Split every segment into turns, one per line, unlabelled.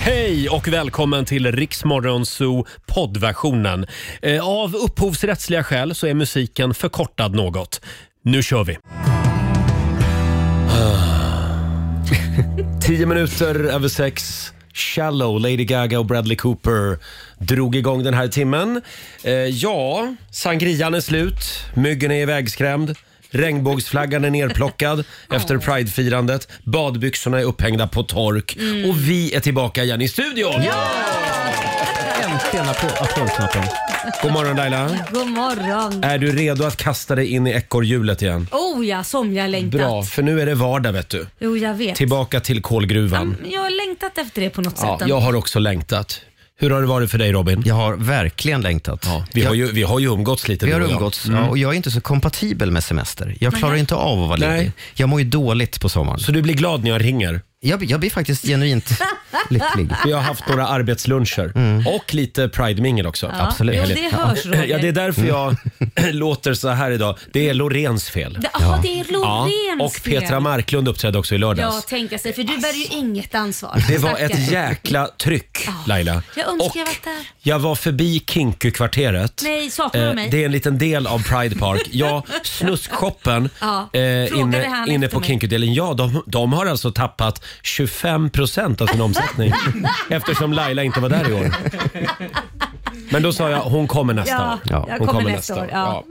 Hej och välkommen till Riksmorgonzoo poddversionen. Eh, Av upphovsrättsliga skäl så är musiken förkortad något. Nu kör vi! Tio minuter över sex. Shallow, Lady Gaga och Bradley Cooper drog igång den här timmen. Eh, ja, sangrian är slut, myggen är ivägskrämd, regnbågsflaggan är nerplockad efter pridefirandet, badbyxorna är upphängda på tork och vi är tillbaka igen i studion!
Äntligen applå- applådknappen.
God morgon Laila!
God morgon.
Är du redo att kasta dig in i ekorrhjulet igen?
Oh ja, som jag längtat.
Bra, för nu är det vardag vet du.
Jo, jag vet. Mm,
Tillbaka till kolgruvan.
Jag har längtat efter det på något
Ja,
sätt.
jag har också längtat. Hur har det varit för dig Robin?
Jag har verkligen längtat.
Vi har
jag,
ju, vi har ju umgåtts lite
vi har
du och jag.
umgåtts ja, Mm. och jag är inte så kompatibel med semester. Jag klarar inte av att vara
Nej.
ledig. Jag mår ju dåligt på sommaren.
Så du blir glad när jag ringer?
Jag, jag blir faktiskt genuint lycklig.
Vi har haft några arbetsluncher
Mm.
och lite Pride-mingel också.
Ja. Jo, det hörs Roger.
Ja, det är därför jag låter så här idag. Det är Lorens fel.
Det- Ja, det är Lorens
Och Petra
fel.
Marklund uppträdde också i
Ja,
lördags.
tänka sig. För du bär ju inget ansvar.
Det var
Stackare.
ett jäkla tryck, Laila.
jag önskar jag
Och
varit där.
Jag var förbi Kinkykvarteret.
Nej, saknar du
Eh,
mig?
Det är en liten del av Pride Park. Ja, snuskshoppen
Ja,
eh,
frågade
inne,
han
inne
efter
på
mig.
Kinkydelen. Ja, de, de har alltså tappat 25 procent av sin omsättning eftersom Laila inte var där i år. Men då sa jag, hon kommer nästa
Ja,
år.
jag
hon
kommer nästa år, ja.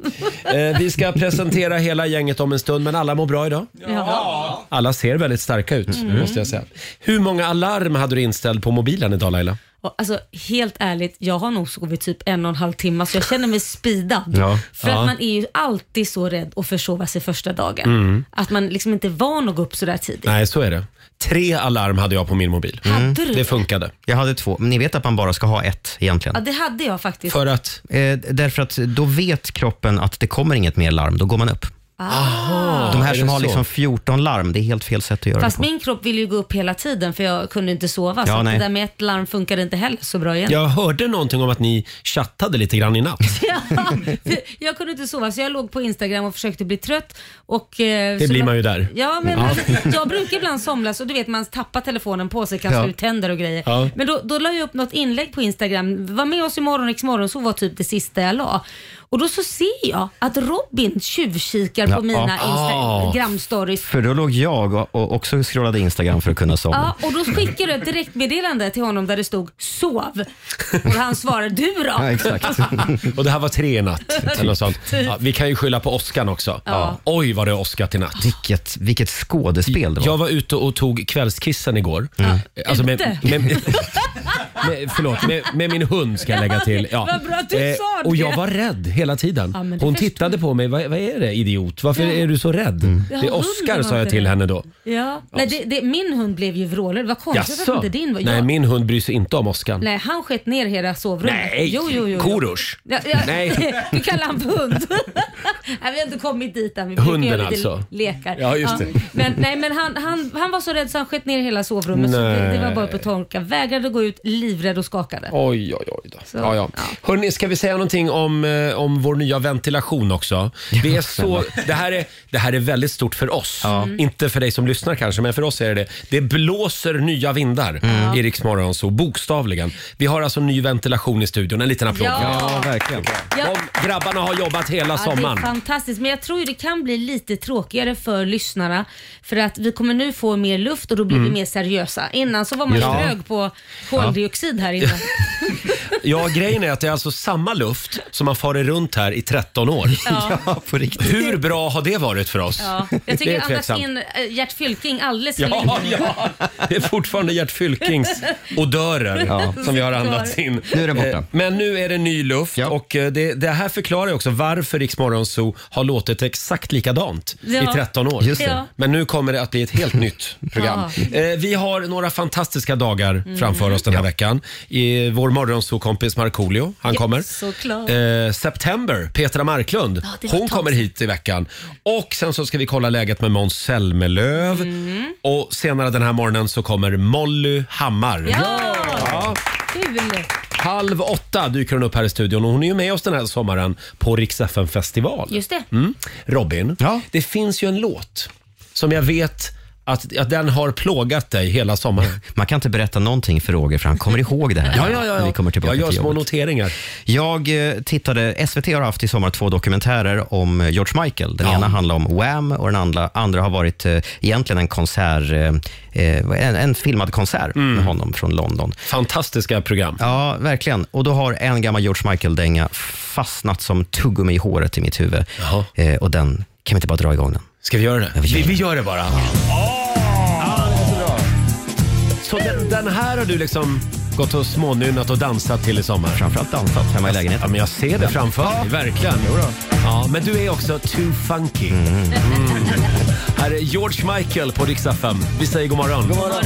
Ja. Eh, vi ska presentera hela gänget om en stund, men alla mår bra idag.
Ja. Mm.
Alla ser väldigt starka ut, måste jag säga. Hur många alarm hade du inställd på mobilen idag Laila?
Och Alltså, helt ärligt, jag har nog sovit typ en och en halv timme så jag känner mig speedad.
Ja.
För
Ja.
att man är ju alltid så rädd att försova sig första dagen. Att man liksom inte är van att gå upp så där tidigt.
Mm. Nej, så är det. Tre alarm hade jag på min mobil.
Hade du
Det funkade.
Jag hade två, men ni vet att man bara ska ha ett egentligen.
Ja, det hade jag faktiskt.
För att...
Eh, därför att då vet kroppen att det kommer inget mer larm, då går man upp. De
är
här som
det
har
så?
liksom 14 larm, det är helt fel sätt att göra
Fast
det på.
min kropp ville ju gå upp hela tiden för jag kunde inte sova.
Ja,
så
nej.
det där med ett larm funkade inte heller så bra igen.
Jag hörde någonting om att ni chattade lite grann i natt.
Ja, för jag kunde inte sova så jag låg på Instagram och försökte bli trött. Och, eh,
Det
så
blir
la-
man ju där.
Ja, men men jag brukar ibland somla så du vet man tappar telefonen på sig, kastar
Ja.
ut tänder och grejer.
Ja.
Men då, då la jag upp något inlägg på Instagram. Var med oss imorgon, Riksmorgon, så var typ det sista jag la. Och då så ser jag att Robin tjuvkikar
Ja,
på mina
ah.
Instagram-stories.
För då låg jag och, och också scrollade Instagram för att kunna somna.
Ja, och då skickade du ett direktmeddelande till honom där det stod “sov” och han svarade “du
Ja,
då?”
exakt.
Och det här var tre i natt. Eller något sånt. Ja, vi kan ju skylla på åskan också.
Ja.
Oj vad det har åskat i natt.
Vilket, vilket skådespel det var.
Jag var ute och tog kvällskissen igår. Alltså med,
Ute?
med, med, förlåt, med, med min hund ska jag lägga till. Ja. Eh,
Vad bra att du sa det.
och jag var rädd hela tiden.
Ja, men det
Hon
förstår Mm.
tittade på mig. Vad, vad är det idiot? Varför är du så rädd?
Ja,
Det är
hunden
Oscar
var
sa jag
inte
till
rädd.
henne då.
Ja. Nej, det, det, min hund blev ju vrålad. Det var konstigt att inte din var.
Nej,
Jag,
min hund bryr sig inte om åskan.
nej, han sket ner hela sovrummet.
Nej,
jo, jo, jo, jo.
Korosh.
Ja, ja,
Nej.
Du kallar han för hund. nej, vi har inte kommit dit än. Vi brukar
Hunden
göra lite
alltså.
lekar.
Ja, just det.
Men, nej, men han, han, han var så rädd så han sket ner hela sovrummet. Så det,
Nej.
det var bara på torka. Vägrade gå ut, livrädd och skakade.
Oj, oj, oj. Då.
Så,
ja, ja.
ja.
Hörrni, ska vi säga någonting om, eh, om vår nya ventilation också? Vi är så, det, här är, det här är väldigt stort för oss. Inte för dig som lyssnar kanske, men för oss är det det. Det blåser nya vindar i Rix Morgon Zoo, bokstavligen. Vi har alltså ny ventilation i studion. En liten applåd.
Ja.
Ja, verkligen.
Ja.
De grabbarna har jobbat hela
Ja, det är
sommaren.
fantastiskt, men jag tror ju det kan bli lite tråkigare för lyssnarna. För att vi kommer nu få mer luft och då blir
Mm.
vi mer seriösa. Innan så var man ju
Ja.
trög på koldioxid här inne.
Ja, grejen är att det är alltså samma luft som har farit runt här i 13 år.
Ja.
Ja, på riktigt.
Hur bra har det varit för oss?
Ja. Jag
Det är
tycker andas
tveksamt.
in eh, Gert Fylking alldeles för
Ja,
länge.
ja, det är fortfarande Gert Fylkings odörer
Ja.
som vi har andats in.
Nu är den borta.
Eh, Men nu är det ny luft
Ja.
och eh, det, det här förklarar ju också varför Rix Morgon Zoo har låtit exakt likadant
Ja.
i 13 år.
Just det.
Ja.
Men nu kommer det att bli ett helt nytt program. Eh, Vi har några fantastiska dagar
Mm.
framför oss den här veckan. I vår morgonsokompis Markoolio, han kommer.
såklart.
Eh, September, Petra Marklund,
Ja, det var
hon
ett tag
kommer
sedan.
hit i veckan. Och sen så ska vi kolla läget med Måns Zelmerlöw.
Mm.
Och senare den här morgonen så kommer Molly Hammar.
Ja!
Ja.
Kul!
Halv åtta dyker hon upp här i studion och hon är ju med oss den här sommaren på Rix FM festival
Just det.
Mm. Robin,
Ja.
det finns ju en låt som jag vet att, att den har plågat dig hela sommaren?
Man kan inte berätta någonting för Roger för han kommer ihåg det här.
Ja, ja, ja.
När vi kommer tillbaka
jag gör
till
små
jobbet.
noteringar.
Jag eh, tittade, SVT har haft i sommar två dokumentärer om eh, George Michael. Den ena handlar om Wham och den andra, andra har varit eh, egentligen en konsert, eh, eh, en, en filmad konsert
Mm.
med honom från London.
Fantastiska program.
Ja, verkligen. Och då har en gammal George Michael-dänga fastnat som tuggummi i håret i mitt huvud.
Jaha.
Eh, och den, kan vi inte bara dra igång den?
Ska vi göra det?
vi gör
Vi,
det.
vi gör det bara. Ja, det är så bra. Så den, den här har du liksom gått och smånynnat och dansat till i sommar?
Framförallt dansat hemma i
Ja,
lägenheten.
men jag ser det framför mig, verkligen. Ja, men du är också too funky. Mm. Här är George Michael på riksdag 5. Vi säger god morgon.
God morgon.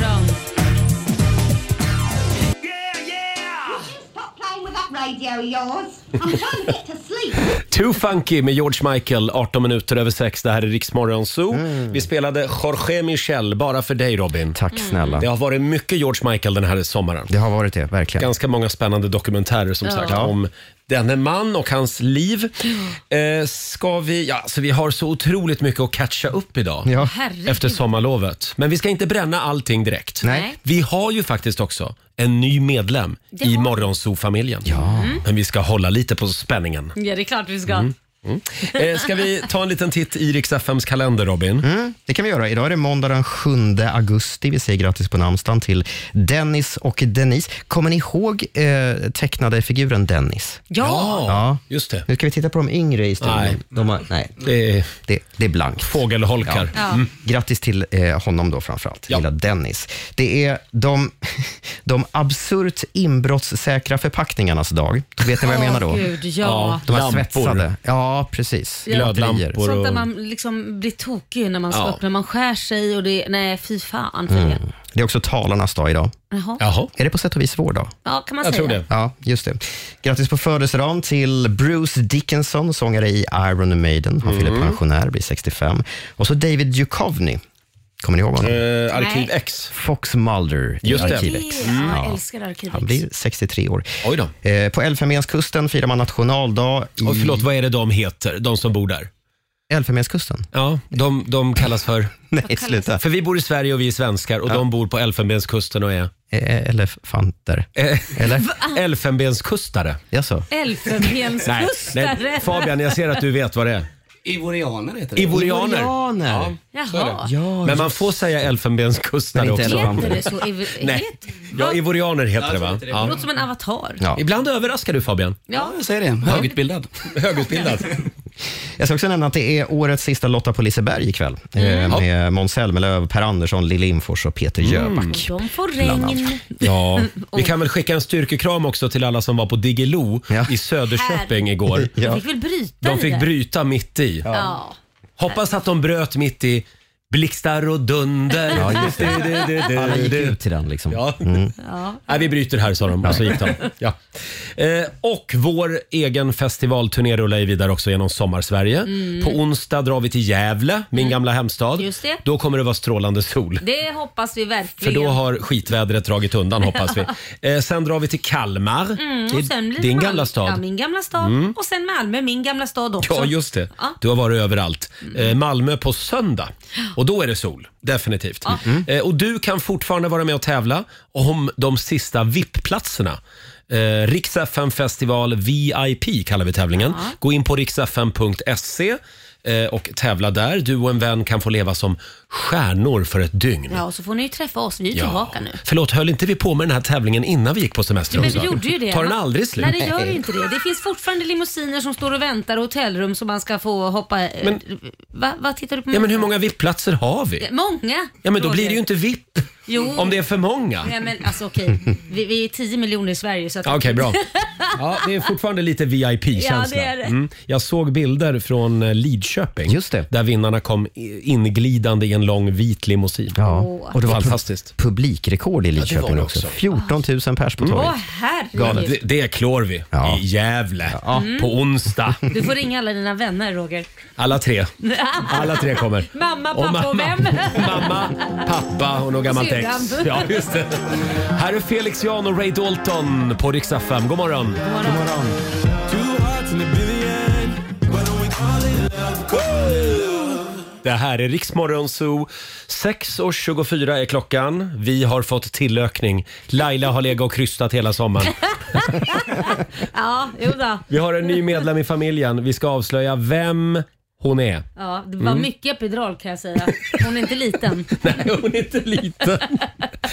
Stop playing with that radio of yours. I'm trying to get to sleep.
Too funky med George Michael, 18 minuter över 6. Det här är Riksmorgon Zoo. Vi spelade Jorge Michel, bara för dig Robin.
Mm. Tack snälla.
Det har varit mycket George Michael den här sommaren.
Det har varit det, verkligen.
Ganska många spännande dokumentärer som sagt om denne man och hans liv. Eh, ska vi, ja, så vi har så otroligt mycket att catcha upp idag.
Ja.
Herregud.
Efter sommarlovet. Men vi ska inte bränna allting direkt.
Nej.
Vi har ju faktiskt också en ny medlem
Det
i
har vi. Mm.
Morgonzoo-familjen. Men vi ska hålla lite på spänningen.
Ja, det är klart vi ska.
Mm. Eh, ska vi ta en liten titt i Rix FMs kalender, Robin?
Mm, det kan vi göra. Idag är det måndag den 7 augusti. Vi säger grattis på namnsdagen till Dennis och Denise. Kommer ni ihåg eh, tecknade figuren Dennis?
Ja!
Ja.
Just det.
Nu ska vi titta på de yngre i studion.
Nej.
De har, nej.
Det är
Det, det är blankt.
fågelholkar.
Ja.
Grattis till eh, honom då framförallt,
Ja.
lilla Dennis. Det är de, de absurt inbrottssäkra förpackningarnas dag. Vet ni vad jag menar då?
Gud, ja.
De här
Lampor.
svetsade. Ja, precis.
Ja.
Glödlampor.
Batterier.
Sånt där
och-
man liksom blir tokig när man ska
Ja. Mm.
öppna, man skär sig och det, nej fy fan för det.
Det är också talarnas dag idag.
Jaha. Ja.
Jaha,
Är det på sätt och vis vår dag?
kan
jag
man
tror
säga.
det.
Ja, just det. Grattis på födelsedagen till Bruce Dickinson, sångare i Iron Maiden. Han
Mm.
fyller pensionär, blir 65. Och så David Duchovny. Kommer ni ihåg honom?
Eh, Arkiv
Nej.
X.
Fox Mulder i
Just det.
Arkiv
Det-
X.
Ja,
Mm.
Ja.
jag älskar Arkivex.
Han blir 63 år.
Oj då.
Eh, på Elfenbenskusten firar man nationaldag. I
Och förlåt, vad är det de heter, de som bor där?
Elfenbenskusten?
Ja, de, de kallas för...
Nej, sluta.
För vi bor i Sverige och vi är svenskar och de bor på Elfenbenskusten och är...
Eh, Elefanter.
Eh.
Eller?
Elfenbenskustare.
Jaså?
Elfenbenskustare.
Fabian, jag ser att du vet vad det är.
Ivorianer heter det.
Ivorianer.
Ja.
Jaha.
Ja.
Men man får säga elfenbenskustare
Men inte
också.
elefant.
Heter det så? Ev-
Nej.
heter-
Ja, ivorianer heter det va?
Det
Ja.
låter som en avatar.
Ja.
Ibland överraskar du Fabian.
Ja, jag säger det. Högutbildad.
Högutbildad.
Jag ska också nämna att det är årets sista Lotta på Liseberg ikväll.
Mm.
Eh, med Måns Zelmerlöw, Per Andersson, Lill Infors och Peter Jöback.
De får regn.
Ja. Vi kan väl skicka en styrkekram också till alla som var på Diggiloo
Ja.
i Söderköping igår.
De fick väl bryta
De
i
fick
det?
bryta mitt i.
Ja.
Hoppas att de bröt mitt i blixtar och dunder.
Ja, just det.
Du, du, du,
Alla gick
du.
ut till den liksom.
Eh, Ja. Nej, vi bryter här sa de och så gick de. Ja. Eh, och vår egen festivalturné rullar ju vidare också genom sommarsverige. På onsdag drar vi till Gävle, min gamla hemstad.
Mm. Just det.
Då kommer det vara strålande sol.
Det hoppas vi
För
verkligen.
då har skitvädret dragit undan hoppas vi. Eh, sen drar vi till Kalmar.
Mm, Och sen blir det
din
Malmö.
gamla
Ja,
stad. Mm.
min gamla stad. Och sen Malmö, min gamla stad också.
Ja, just det.
Ja. Mm.
Du har varit överallt. Eh, Malmö på söndag. Och då är det sol, definitivt.
Mm.
Eh, och du kan fortfarande vara med och tävla om de sista VIP-platserna. Eh, Rix FM festival VIP kallar vi tävlingen. Gå in på riksfm.se eh, och tävla där. Du och en vän kan få leva som stjärnor för ett dygn.
Ja, och så får ni ju träffa oss. Vi är ju tillbaka nu.
Förlåt, höll inte vi på med den här tävlingen innan vi gick på semester
Men
också?
vi gjorde ju det.
Tar den
Man-
aldrig slut?
Nej, det gör ju inte det. Det finns fortfarande limousiner som står och väntar och hotellrum som man ska få hoppa... Men, Va, vad tittar du på mig
Ja, men hur
för?
många VIP-platser har vi?
Många.
Ja, men då
Roger.
blir det ju inte VIP
Jo.
om det är för många.
Nej, men alltså okej. Vi, vi är 10 miljoner i Sverige så att...
Okej, bra. Ja, det är fortfarande lite VIP-känsla.
Ja, det är det.
Mm. Jag såg bilder från eh, Lidköping
Just det.
där vinnarna kom i- inglidande i en lång vit limousin.
Ja.
Åh.
Och det var
Fantastiskt.
publikrekord i Lidköping
det
också.
också. Mm.
14 000 pers på torget.
Åh herregud.
Det, det klår vi
Ja.
i Gävle
Mm.
på onsdag.
Du får ringa alla dina vänner Roger.
Alla tre. Alla tre kommer.
Mamma, pappa och vem?
Mamma, pappa och något gammalt ex.
Syrran.
Ja, just det. Här är Felix Jan och Ray Dalton på Rix FM. God morgon. Det här är Riksmorgon Zoo. 6.24 är klockan. Vi har fått tillökning. Laila har legat och krystat hela sommaren.
Ja, jo då.
Vi har en ny medlem i familjen. Vi ska avslöja vem hon är.
Ja, det var
Mm.
mycket epidural kan jag säga. Hon är inte liten.
Nej, hon är inte liten.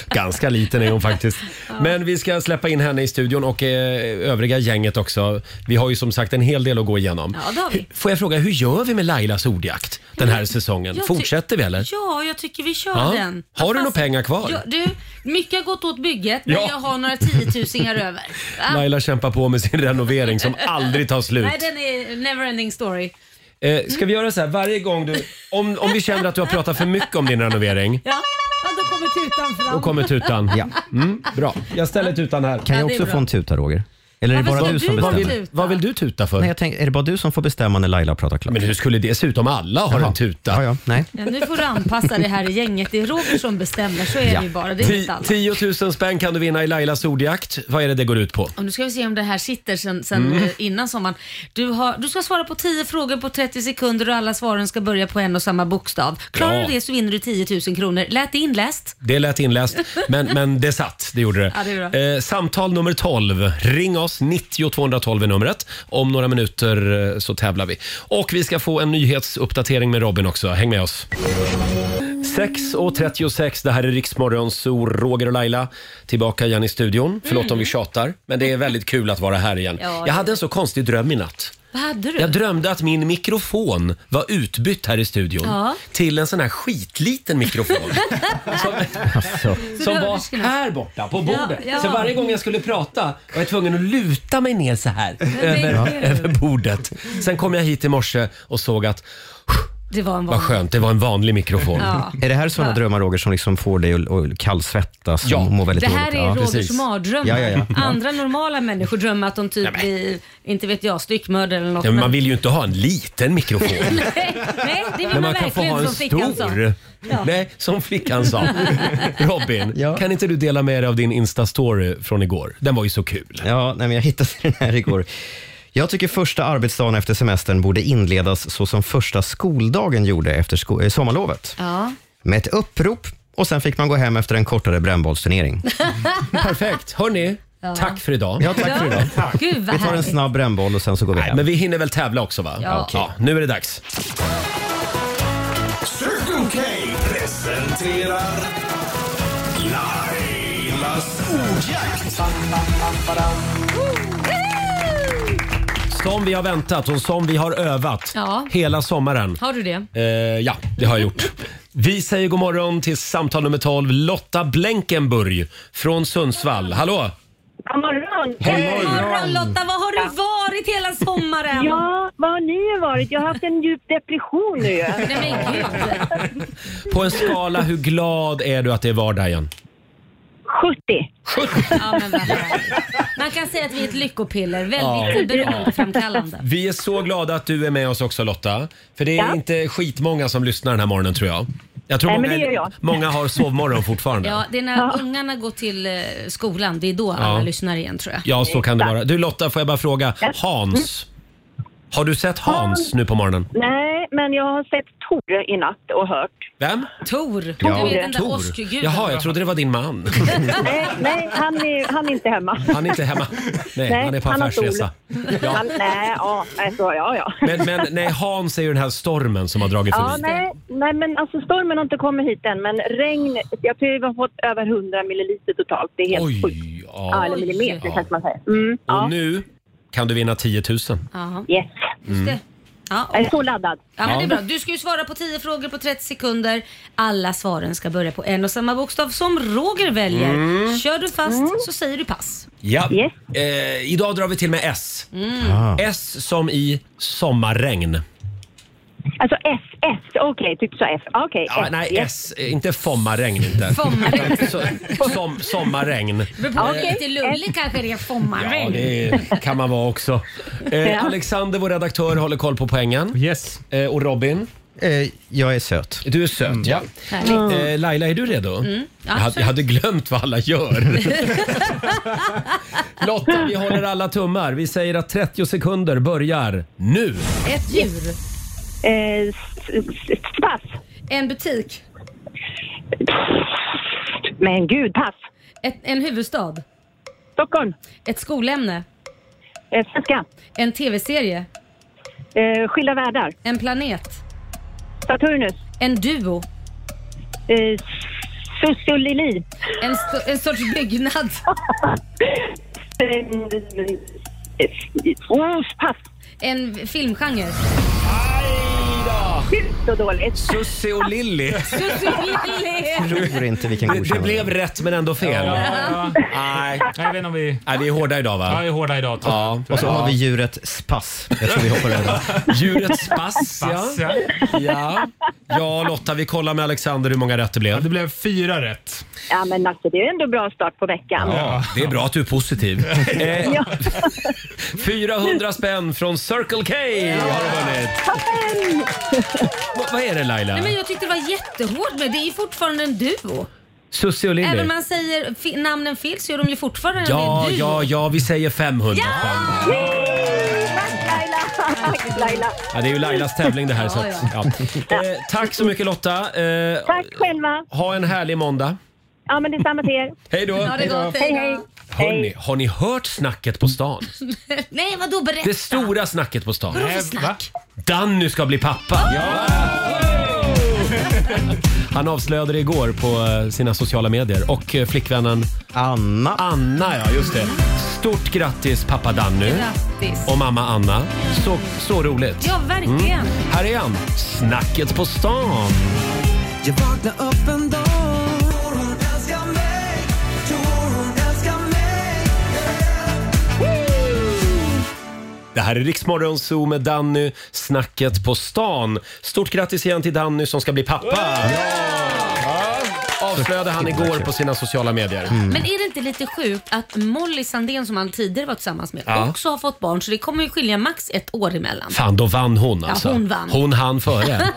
Ganska liten är hon faktiskt. Men vi ska släppa in henne i studion och eh, övriga gänget också. Vi har ju som sagt en hel del att gå igenom.
Ja, det har vi.
Hur- Får jag fråga, hur gör vi med Lailas ordjakt den här säsongen?
Jag ty-
Fortsätter vi eller?
Ja, jag tycker vi kör
Ja.
den.
Har du
Fast-
några pengar kvar?
Ja, du, mycket har gått åt bygget men
Ja.
jag har några tiotusingar över. Ah.
Laila kämpar på med sin renovering som aldrig tar slut.
Nej, den är neverending story.
Eh, ska vi göra så här varje gång du... Om, om vi känner att du har pratat för mycket om din renovering,
Ja, ja då kommer tutan fram.
då kommer tutan.
Ja.
Mm, bra, jag ställer tutan här.
Kan
Ja,
jag
det är
också
bra.
få en tuta, Roger? Eller är det
Varför
bara
ska
du som
du få
Vad
bestämmer?
tuta?
vill, vad vill du tuta för?
Nej, jag tänkte, är det bara du som får bestämma när Laila pratar klart?
Men hur skulle det se ut om alla har en tuta?
Ja, ja, nej.
Ja, nu får du anpassa det här i gänget. Det är Roger som bestämmer, så är
Ja.
det ju bara. Det är
Ti-
inte alls.
10 000 spänn kan du vinna i Lailas ordjakt. Vad är det det går ut på?
Och nu ska vi se om det här sitter sen, sen
Mm.
eh, innan sommaren. Du, har, du ska svara på 10 frågor på 30 sekunder och alla svaren ska börja på en och samma bokstav. Klarar
Ja.
du det så vinner du 10 000 kronor. Lät det inläst?
Det lät inläst, men, men det satt. Det gjorde det.
Ja, det är
eh, samtal nummer 12. Ring oss, 90 212 är numret. Om några minuter eh, så tävlar vi. Och vi ska få en nyhetsuppdatering med Robin också. Häng med oss. 6.36, det här är Riksmorgon, så Roger och Laila tillbaka igen i studion. Förlåt om vi tjatar, men det är väldigt kul att vara här igen.
Mm. Ja, det
Jag
är
hade en så konstig dröm i natt.
Vad hade du?
Jag drömde att min mikrofon var utbytt här i studion
Ja.
till en sån här skitliten mikrofon. som som
du
var
överskrider.
här borta på bordet.
ja.
Så varje gång jag skulle prata var jag tvungen att luta mig ner så här över,
tänker du?
över bordet. Sen kom jag hit i morse och såg att
Det var en
vad
vanlig.
skönt, det var en vanlig mikrofon.
Ja.
Är det här sådana drömmar, Roger, som liksom får dig att- att kallsvettas
Ja.
och må väldigt
Det här
dåligt?
är
Ja.
Rogers
precis.
mardrömmar.
Ja, ja, ja.
Andra normala människor drömmer att de typ blir, inte vet jag, styckmördare eller något.
Ja, men man
men-
vill ju inte ha en liten mikrofon.
Nej, det vill
Men
man,
man kan få
verkligen
ha en
som flickan sa.
stor.
Ja.
Nej, som flickan sa. Robin,
Ja.
kan inte du dela med dig av din Insta-story från igår? Den var ju så kul.
Ja, nej, men jag hittade den här igår. Jag tycker första arbetsdagen efter semestern borde inledas så som första skoldagen gjorde efter sko- eh, sommarlovet.
Ja.
Med ett upprop och sen fick man gå hem efter en kortare brännbollsturnering.
Perfekt. Hörni, tack för idag.
Ja, tack för idag.
Gud vad
Vi tar en
härligt.
snabb brännboll och sen så går vi
Nej,
hem.
men vi hinner väl tävla också va?
Ja. Okej.
nu är det dags.
Circle K presenterar Lailas ordjakt.
Som vi har väntat och som vi har övat
Ja.
hela sommaren.
Har du det?
Eh, ja, det har jag gjort. Vi säger god morgon till samtal nummer 12, Lotta Blenkenburg från Sundsvall. Hallå!
God morgon!
God morgon Lotta, var har du varit hela sommaren?
Ja, vad har ni varit? Jag har haft en djup depression nu ju.
Nej men gud.
På en skala, hur glad är du att det är vardag igen?
70.
Ja, men vad härligt. Man kan säga att vi är ett lyckopiller, väldigt beroendeframkallande.
Vi är så glada att du är med oss också Lotta. För det är
Ja.
inte skitmånga som lyssnar den här morgonen tror jag. Jag tror
Nej, men
många,
det gör jag.
många har sovmorgon fortfarande.
Ja, det är när ungarna går till eh, skolan, det är då alla lyssnar igen tror jag.
Ja, så kan det vara. Du Lotta, får jag bara fråga. Hans. Har du sett Hans nu på morgonen?
Nej, men jag har sett Tor i natt och hört.
Vem?
Tor,
Ja.
du är den där
Tor.
åskguden.
Jaha, jag trodde det var din man.
Nej, nej han, är, han är inte hemma.
Han är inte hemma. Nej,
Nej,
han är på
han har
affärsresa. Ja.
Han, nej, ja, nej, så, ja, ja.
Men, men nej, Hans är ju den här stormen som har dragit
Ja,
förbi.
nej, nej, men alltså stormen har inte kommit hit än, men regn, jag tror vi har fått över 100 milliliter totalt. Det är helt sjukt.
Oj,
Ja,
ja.
eller millimeter
Ja.
kanske man säger. Mm, ja,
Och nu kan du vinna 10 000.
Jaha,
yes.
just det. Ja, och-
Jag är så laddad.
Ja, men det är
Ja.
bra. Du ska ju svara på 10 frågor på 30 sekunder. Alla svaren ska börja på en och samma bokstav som Roger väljer. Kör du fast så säger du pass.
Ja.
Yes.
Eh, idag drar vi till med S.
Ah.
S som i sommarregn.
Alltså S, S, okej, tyckte du sa F. Okej,
Ja,
S,
nej,
yes.
S. eh, Inte fommarregn inte.
Fommarregn.
Så, som, sommarregn.
Ja,
Okej.
Lite lullig kanske det är
Ja,
fommarregn.
det kan man vara också. Eh, Alexander, vår redaktör, håller koll på poängen.
Yes.
Eh, och Robin,
Eh, Jag är söt.
du är söt. Ja.
Härligt.
Eh, Laila, är du redo? jag, hade,
absolut.
jag hade glömt vad alla gör. Lotta, vi håller alla tummar. Vi säger att 30 sekunder börjar nu.
Ett djur.
Eh, s- s- pass.
En butik.
Men gud, pass.
Ett, en huvudstad.
Stockholm.
Ett skolämne.
Eh, svenska.
En tv-serie.
Eh, skilda världar.
En planet.
Saturnus.
En duo.
Eh, Sussulili.
En, st- en sorts byggnad.
Eh,
Oh, pass.
En filmgenre.
Gud, så dåligt.
Sussi och Lilly.
Tror inte vi kan
Det, det
godkänna
blev rätt men ändå fel.
Ja,
Nej.
jag vet inte om vi...
Nej, vi är hårda idag va?
Jag är hårda idag. tror
Ja.
Och så har vi djuret spass. Jag tror vi hoppar över.
Djuret spass,
jag.
ja.
Pass, ja.
ja. Ja, Lotta, vi kollar med Alexander hur många rätt det
Ja, Det
blev.
blev fyra rätt.
Ja, men alltså det är ändå bra start på veckan.
Ja, det är bra att du är positiv. Eh, 400 spänn från Circle K har du vunnit.
Men,
Va- Vad är det Laila?
Nej, men jag tyckte det var jättehårt men det är ju fortfarande en duo.
Sussi och
Även om
Lilly?
man säger fi- namnen fel så är de ju fortfarande
Ja,
en duo.
ja, ja, vi säger 500 spänn.
Tack Laila! Tack Laila!
Ja, det är ju Lailas tävling det här. Så att, ja. eh, tack så mycket Lotta. Eh,
Tack själva!
ha en härlig måndag.
Ja, men detsamma till er.
Hej då!
Ha det gott.
Hej,
då.
hej.
Hörrni, har ni hört snacket på stan?
Nej vadå berätta?
Det stora snacket på stan.
Vadå Oh! för snack?
Danny ska bli pappa! Han avslöjade det igår på eh, sina sociala medier och eh, flickvännen
Anna.
Anna, ja just det. Stort grattis pappa Danny
Grattis.
och mamma Anna. Så, så roligt.
Ja verkligen.
Här är han, snacket på stan.
Jag vaknar upp en dag Tror hon älskar mig Tror hon älskar mig
Det här är Riksmorgon Zoo med Danny, snacket på stan. Stort grattis igen till Danny som ska bli pappa. Ja. Mm. Avslöjade han igår på sina sociala medier.
Men är det inte lite sjukt att Molly Sandén som han tidigare var tillsammans med
Ja.
också har fått barn så det kommer ju skilja max ett år emellan.
Fan, då vann hon alltså.
hon vann.
Hon hann före.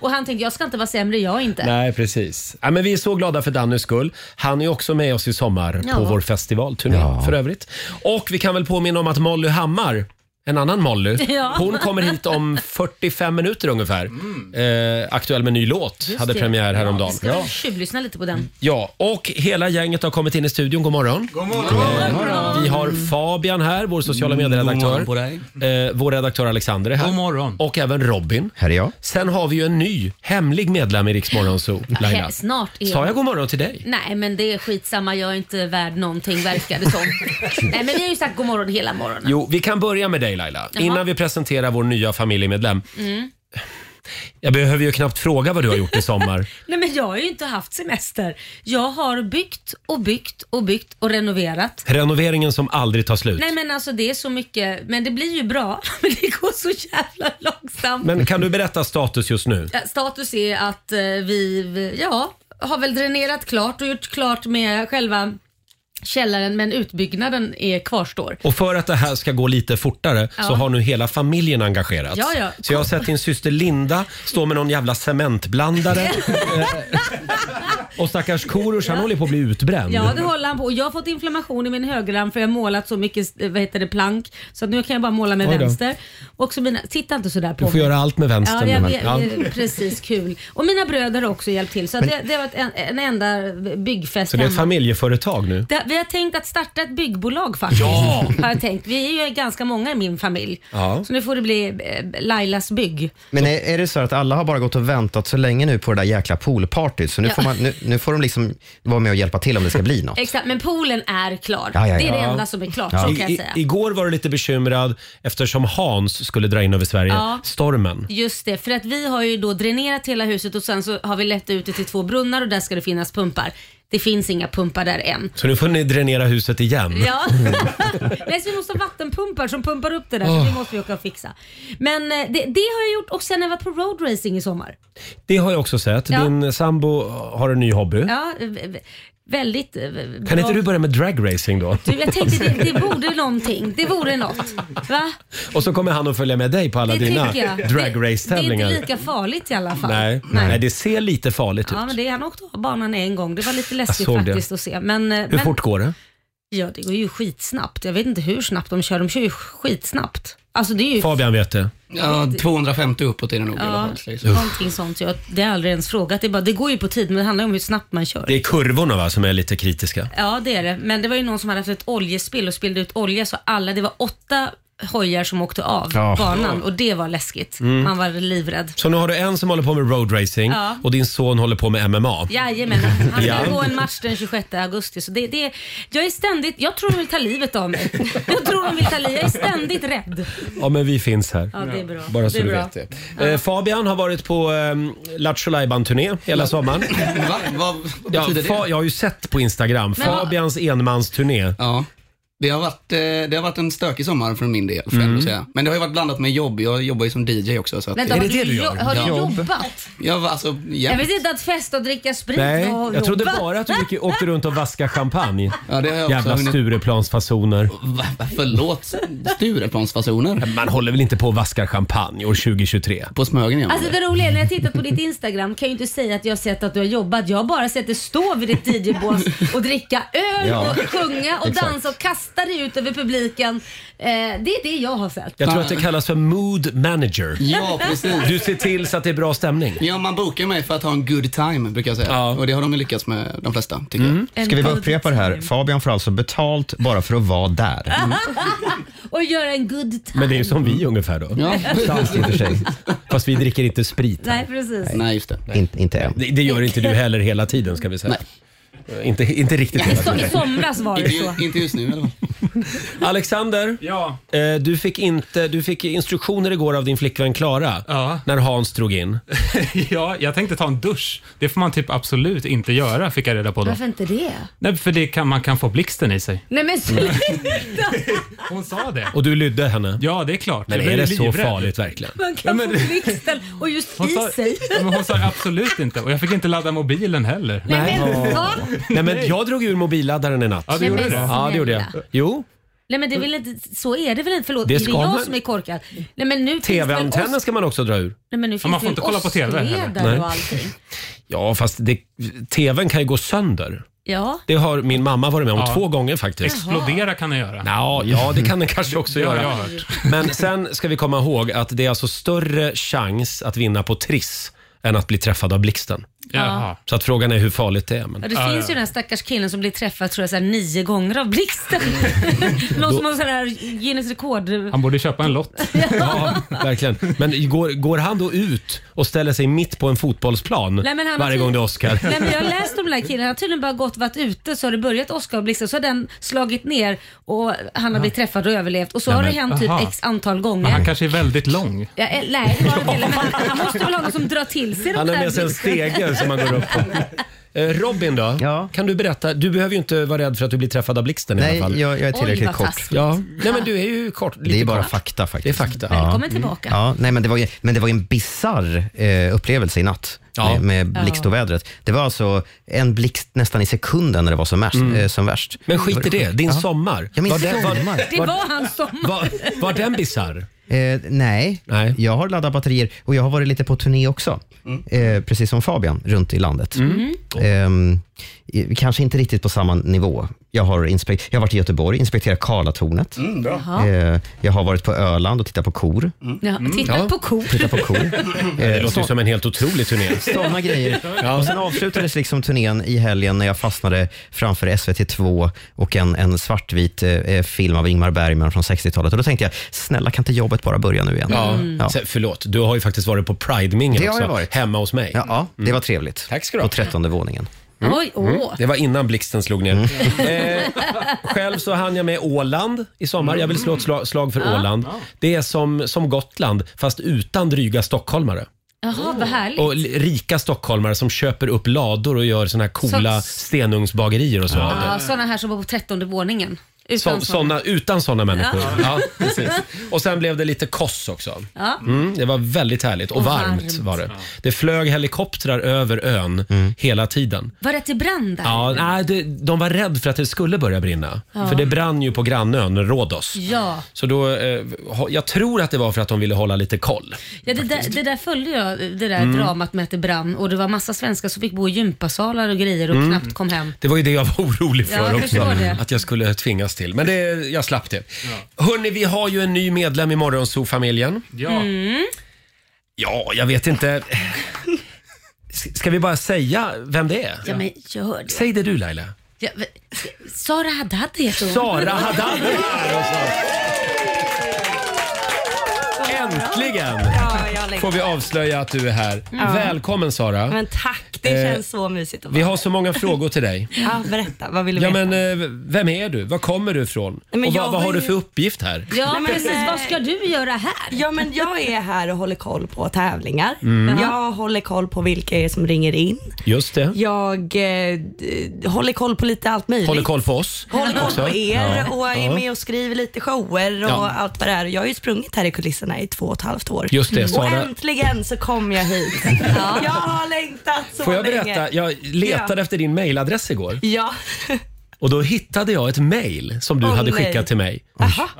Och han tänkte jag ska inte vara sämre jag inte.
Nej, precis. Ja, men vi är så glada för Dannys skull. Han är också med oss i sommar
Ja.
på vår festivalturné för övrigt. Och vi kan väl påminna om att Molly Hammar en annan Molly.
Ja.
Hon kommer hit om 45 minuter ungefär. Eh, aktuell med ny låt. Hade
Mm. det.
premiär häromdagen.
Vi ska väl tjuvlyssna lite på den.
Ja, och hela gänget har kommit in i studion. God morgon.
God morgon. Mm,
Vi har Fabian här, vår sociala
God morgon på
medieredaktör.
dig.
Eh, vår redaktör Alexander är här.
God morgon.
Och även Robin.
Här är jag.
Sen har vi ju en ny hemlig medlem i Rix Morgon Zoo, Laila.
He- snart är
Sa jag god morgon till dig?
Nej men det är skitsamma, jag är inte värd någonting verkar det som. Nej men vi har ju sagt god morgon hela morgonen.
Jo, vi kan börja med dig Laila.
Jaha.
Innan vi presenterar vår nya familjemedlem. Jag behöver ju knappt fråga vad du har gjort i sommar.
Nej men jag har ju inte haft semester. Jag har byggt och byggt och byggt och renoverat.
Renoveringen som aldrig tar slut.
Nej men alltså det är så mycket, men det blir ju bra. Men det går så jävla långsamt.
Men kan du berätta status just nu?
Ja, Status är att eh, vi, vi- ja, har väl dränerat klart och gjort klart med själva källaren men utbyggnaden är kvarstår.
Och för att det här ska gå lite fortare så
Ja.
har nu hela familjen engagerats.
Ja, ja.
Så jag har sett din syster Linda stå med någon jävla cementblandare. Eh, och stackars Korosh, han håller på att bli utbränd.
Ja, det håller han på. Och jag har fått inflammation i min högerarm för jag har målat så mycket eh, vad heter det, plank. Så att nu kan jag bara måla med
Oj då.
vänster. Och så mina, titta inte sådär på
Du får göra allt med
Ja,
vänstern.
jag,
men-
vet,
ja.
det är precis kul. Och mina bröder har också hjälpt till. Så att det, det har varit en, en enda byggfest
Så det är ett
hemma.
familjeföretag nu?
Det, vi har tänkt att starta ett byggbolag faktiskt.
Ja!
Har jag tänkt. Vi är ju ganska många i min familj.
Ja.
Så nu får det bli eh, Lailas bygg.
Men är, är det så att alla har bara gått och väntat så länge nu på det där jäkla poolpartyt, så nu,
Ja.
får, man, nu, nu får de liksom vara med och hjälpa till om det ska bli något?
Exakt, men poolen är klar.
Ja, ja, ja.
Det är det enda som är klart, så kan jag
I,
säga.
igår var du lite bekymrad eftersom Hans skulle dra in över Sverige.
Ja.
Stormen.
Just det, för att vi har ju då dränerat hela huset och sen så har vi lett ut det till två brunnar och där ska det finnas pumpar. Det finns inga pumpar där än.
Så nu får ni dränera huset igen.
Ja. Nej, så vi måste ha vattenpumpar som pumpar upp det där, så det måste vi åka och fixa. Men eh, det, det har jag gjort och sen har jag varit på roadracing i sommar.
Det har jag också sett.
Ja.
Din sambo har en ny hobby.
Ja, eh, v- väldigt eh, bra.
Kan inte du börja med dragracing då?
Du, jag tänkte det, det vore någonting. Det vore något. Va?
Och så kommer han att följa med dig på alla
Det
dina
tycker jag.
dragrace-tävlingar.
Det, det är inte lika farligt i alla fall.
Nej. Nej. det ser lite farligt
Ja,
ut.
men det, han åkte av banan en gång. Det var lite läskigt
såg det.
faktiskt att se. Men, eh,
Hur
men,
fort går det?
Ja, det går ju skitsnabbt. Jag vet inte hur snabbt de kör. De kör ju skitsnabbt. Alltså det är ju...
Fabian vet det.
Ja, 250 uppåt är det nog. i alla
Ja,
fall, säger
liksom.
så.
någonting sånt. Jag, det har jag aldrig ens frågat. Det, är bara, det går ju på tid, men det handlar om hur snabbt man kör.
Det är kurvorna va, som är lite kritiska.
Ja, det är det. Men det var ju någon som hade haft ett oljespill och spillde ut olja så alla, det var åtta hojar som åkte av
Ja.
banan och det var läskigt.
Mm.
Man var livrädd.
Så nu har du en som håller på med road racing
Ja.
och din son håller på med MMA.
Jajamän, han ska
Ja.
gå en match den 26 augusti. Så det, det, jag är ständigt, jag tror de vill ta livet av mig. Jag tror de vill ta livet, jag är ständigt rädd.
Ja, men vi finns här.
Ja, det är bra.
Bara så
Det är
du
bra.
vet det. Eh, Fabian har varit på eh, Lattjo Lajban-turné hela sommaren.
Va? Vad vad
Ja,
betyder
fa-
det?
jag har ju sett på Instagram,
Men vad-
Fabians enmansturné.
Ja. Det har, varit, eh, det har varit en stökig sommar för min del, får jag
Mm.
ändå säga. Men det har ju varit blandat med jobb. Jag jobbar ju som DJ också. Så att
Vänta, har du, jo- har du
Ja.
jobbat?
Jag var alltså,
Jag
jämt.
visste inte att festa och dricka sprit
Nej,
var att
jag trodde
jobba.
bara att du gick, åkte runt och vaskade champagne.
Ja, det har jag också
Jävla
hunnit-
Stureplansfasoner.
Va, va, förlåt, Stureplansfasoner?
Man håller väl inte på och vaskar champagne år 2023?
På Smögen igen.
Alltså det roliga är när jag tittat på ditt Instagram kan jag ju inte säga att jag har sett att du har jobbat. Jag har bara sett dig stå vid ditt DJ-bås och dricka öl
Ja.
och sjunga och
Exakt.
dansa och kasta dig ut över publiken. Eh, det är det jag har sett.
Jag tror att det kallas för mood manager.
Ja, precis.
Du ser till så att det är bra stämning.
Ja, man bokar mig för att ha en good time, brukar jag säga. Och det har de ju lyckats med, de flesta, tycker
Mm.
jag.
Ska vi bara upprepa det här? Fabian får alltså betalt bara för att vara där.
och göra en good time.
Men det är ju som vi ungefär då.
Ja.
Fast, i och för sig. Fast vi dricker inte sprit.
Nej, precis.
Nej, just det.
inte än.
Det, det gör inte du heller hela tiden ska vi säga. Eh, Inte, inte riktigt hela
Så, I
tiden.
somras var det så.
Inte just nu i alla fall.
Alexander, eh, du, fick inte, du fick instruktioner igår av din flickvän Klara när Hans drog in.
ja, jag tänkte ta en dusch. Det får man typ absolut inte göra, fick jag reda på då.
Varför inte det?
Nej, för det kan, man kan få blixten i sig.
Nej men
Mm.
sluta!
Hon sa det.
Och du lydde henne?
Ja, det är klart.
Men
Jag
är
blev
det så
livrädd.
farligt verkligen?
Man
Ja,
kan
men-
få blixten och just
Hon
i
sa,
sig.
Ja, men hon sa absolut inte och jag fick inte ladda mobilen heller.
Nej, men va?
Nej men jag drog ur mobilladdaren en natt.
Ja, du gjorde Nej, men det.
Ja, det gjorde jag.
snälla.
Jo,
Nej men det är väl inte, så är det väl inte? Förlåt,
Det
det är
ska
det jag
man-
som är korkad? Nej men nu finns det väl
tv-antennen
oss-
ska man också dra ur.
Nej, men nu finns
man får
det
inte
ju
kolla på TV heller.
åskledare
Nej.
och allting.
Ja, fast det, tvn kan ju gå sönder.
Ja.
Det har min mamma varit med om
Ja.
två gånger faktiskt.
Explodera kan jag göra.
Ja, ja, det kan den kanske också
Det har
göra.
jag hört.
Men sen ska vi komma ihåg att det är alltså större chans att vinna på Triss än att bli träffad av blixten.
Jaha.
Så att frågan är hur farligt det är. Men...
Ja, det finns ju den här stackars killen som blir träffad tror jag, så här, nio gånger av blixten. Någon som har sån här Guinness rekord.
Han borde köpa en lott.
Ja, verkligen. Men går, går han då ut och ställer sig mitt på en fotbollsplan
Nej, men han har
varje
tid-
gång det är Oscar?
Nej, men jag har läst om den här killen, han har tydligen bara gått varit ute så har det börjat åska och blixten så har den slagit ner och han har blivit träffad och överlevt och så
Nej,
har det
men-
hänt typ
aha.
x antal gånger.
Men han kanske är väldigt lång.
Ja, eh, nej, det var det inte. Men han, han måste väl ha någon som drar till sig de
Han har
där
med sig en
blixtarna.
stege som han går upp på. Eh, Robin då? Kan du berätta? Du behöver ju inte vara rädd för att du blir träffad av blixten i
Nej,
alla fall.
jag- jag är tillräckligt Oj, vad kort. taskigt.
Ja. Nej, men du är ju kort.
Det är
lite
bara
kort.
fakta faktiskt. Det är fakta.
Välkommen tillbaka.
Ja, nej, men, det var ju, men det var ju en bizarr eh, upplevelse i natt med, med blixtovädret. Det var alltså en blixt nästan i sekunden när det var som värst. Eh, som värst.
Mm. Men skit i det, din
Ja.
sommar.
Ja, min
Var det- var-
sommar.
Det var hans sommar.
Var, var den bisarr?
Eh, nej. jag har laddat batterier och jag har varit lite på turné också.
Mm.
Eh, precis som Fabian, runt i landet. Ehm, i- kanske inte riktigt på samma nivå. Jag har, inspek- jag har varit i Göteborg, inspekterat Karlatornet.
Mm, bra.
Jaha.
Eh, jag har varit på Öland och tittat på kor.
Mm.
Mm. Ja, titta
Ja.
på kor.
Titta på kor.
Det låter ju som en helt otrolig turné.
Sådana grejer. Och sen avslutades liksom turnén i helgen när jag fastnade framför SVT2 och en, en svartvit eh, film av Ingmar Bergman från 60-talet. Och Då tänkte jag, snälla kan inte jobbet bara börja nu igen?
Ja. Mm.
Ja.
Sen, förlåt, du har ju faktiskt varit på Pride-mingel
Det har
också,
jag varit.
hemma hos mig.
Ja, ja, det var trevligt.
Tack ska du ha.
På trettonde våningen.
Mm.
Oj, åh.
Det var innan blixten slog ner.
Mm.
Eh, själv så hann jag med Åland i sommar. Jag vill slå ett slag, slag för Åland. Det är som, som Gotland, fast utan dryga stockholmare.
Jaha, vad härligt.
Och l- rika stockholmare som köper upp lador och gör såna här coola
Så-
stenugnsbagerier och så av det.
Ah.
Ja, sådana här som var på trettonde våningen. Utan
så, såna,
såna.
utan såna människor.
Ja.
Ja. precis. Och sen blev det lite koss också.
Ja.
Mm, det var väldigt härligt och,
Och
varmt,
varmt.
var det. Det flög helikoptrar över ön hela tiden.
Var det till brand där?
Ja, nej, det, de var rädda för att det skulle börja brinna.
Ja.
För det brann ju på grannön Rhodos.
Ja,
Så då, eh, ha- jag tror att det var för att de ville hålla lite koll.
ja det, där, det där följde jag, det där
Mm.
dramat med att det brann och det var massa svenskar som fick bo i gympasalar och grejer och
Mm.
knappt kom hem.
Det var ju det jag var orolig
Ja,
för
jag
också.
förstår det.
Att jag skulle tvingas till. Men det, jag slapp det. Hörni, vi har ju en ny medlem i Morgonzoo-familjen.
Mm.
Ja, jag vet inte. S- Ska vi bara säga vem det är?
Ja, men gör det.
Säg det du Laila.
Ja, men- Sara Haddad heter hon.
Sara Haddad är här och Äntligen
Ja, jag längtar.
får vi avslöja att du är här.
Ja.
Välkommen Sara.
Men tack, det
Eh,
känns så mysigt att
Vi
vara
har så många frågor till dig.
Ja, berätta, vad vill du
Ja,
veta?
men, eh, vem är du? Var kommer du ifrån?
Nej, men
och
jag
vad, vad
var
har du
ju-
för uppgift här?
Ja, precis. Vad ska du göra här?
Ja, men jag är här och håller koll på tävlingar.
Mm.
Jag håller koll på vilka det är som ringer in.
Just det.
Jag eh, d- håller koll på lite allt möjligt.
Håller koll på oss.
Håller koll
också.
på er
Ja.
och är
Ja.
med och skriver lite shower och
Ja.
allt vad det är. Jag har ju sprungit här i kulisserna i två och ett halvt år.
Just det,
Och
Sara-
äntligen så kom jag hit. Jag har längtat så
Får jag
länge.
berätta? Jag letade efter din mailadress igår
Ja.
och då hittade jag ett mail som du
Åh,
hade
nej.
skickat till mig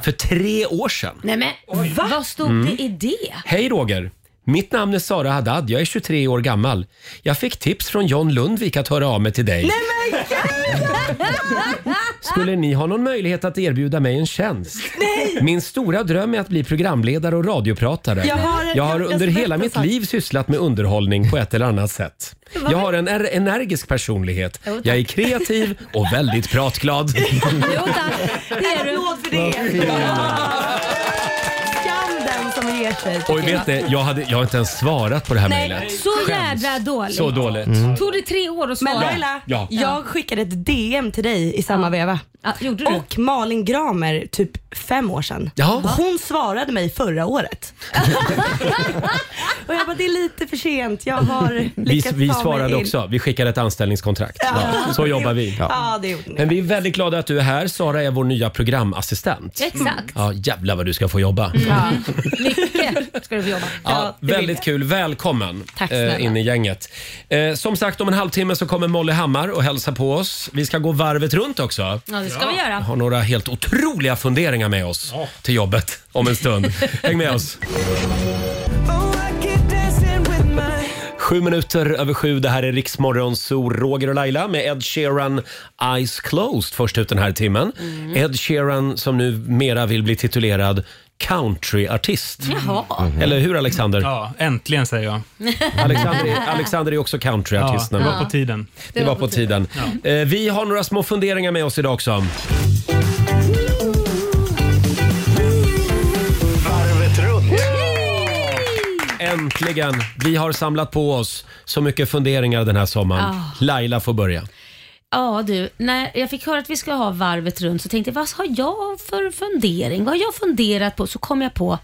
för tre år sedan.
Nej men Va? vad stod
Mm.
det i det?
Hej Roger! Mitt namn är Sara Haddad, jag är 23 år gammal. Jag fick tips från John Lundvik att höra av mig till dig.
men gud!
Skulle ni ha någon möjlighet att erbjuda mig en tjänst?
Nej!
Min stora dröm är att bli programledare och radiopratare.
Jag har ett
jag har
hjärtas
under hela
bästa
mitt
sak.
liv sysslat med underhållning på ett eller annat sätt. Jag har en er- energisk personlighet.
Jo, tack.
Jag är kreativ och väldigt pratglad.
Det är du. Applåd för det. Skam den som ger sig.
Oj, vet ni, jag, hade, jag har inte ens svarat på det här mejlet.
så jädra dåligt.
Så dåligt. Mm.
Tog det tre år att
svara?
Men Laila,
Ja. Ja.
jag skickade ett DM till dig i samma veva. Och Malin Gramer typ fem år sedan.
Ja.
Hon svarade mig förra året. och jag bara, det är lite för sent. Jag har
Vi,
lyckats
vi
ta mig
svarade
in.
också. Vi skickade ett anställningskontrakt.
Ja.
Så jobbar vi.
Ja, det gjorde ni.
Men vi är väldigt glada att du är här. Sara är vår nya programassistent.
Exakt.
Ja, jävlar vad du ska få jobba.
Ja. Mycket ska du få jobba.
Mm. Ja,
det vill
väldigt kul. Välkommen
Tack
eh,
snälla.
in i gänget. Eh, som sagt, om en halvtimme så kommer Molly Hammar och hälsa på oss. Vi ska gå varvet runt också.
Ja, det ska vi göra.
Jag har några helt otroliga funderingar med oss till jobbet om en stund. Häng med oss. Sju minuter över sju. Det här är Riksmorgon, så Roger och Laila med Ed Sheeran, Eyes Closed, först ut den här timmen.
Mm.
Ed Sheeran som nu mera vill bli titulerad countryartist.
Jaha.
Eller hur Alexander?
Ja, äntligen säger jag.
Alexander, är- Alexander är också countryartist
Ja,
nu.
det var på tiden.
Det, var på tiden. Eh, Vi har några små funderingar med oss idag också.
Varvet runt.
Äntligen! Vi har samlat på oss så mycket funderingar den här sommaren.
Ah.
Laila får börja.
Ja du, när jag fick höra att vi ska ha varvet runt så tänkte jag, vad har jag för fundering? Vad har jag funderat på? Så kom jag på,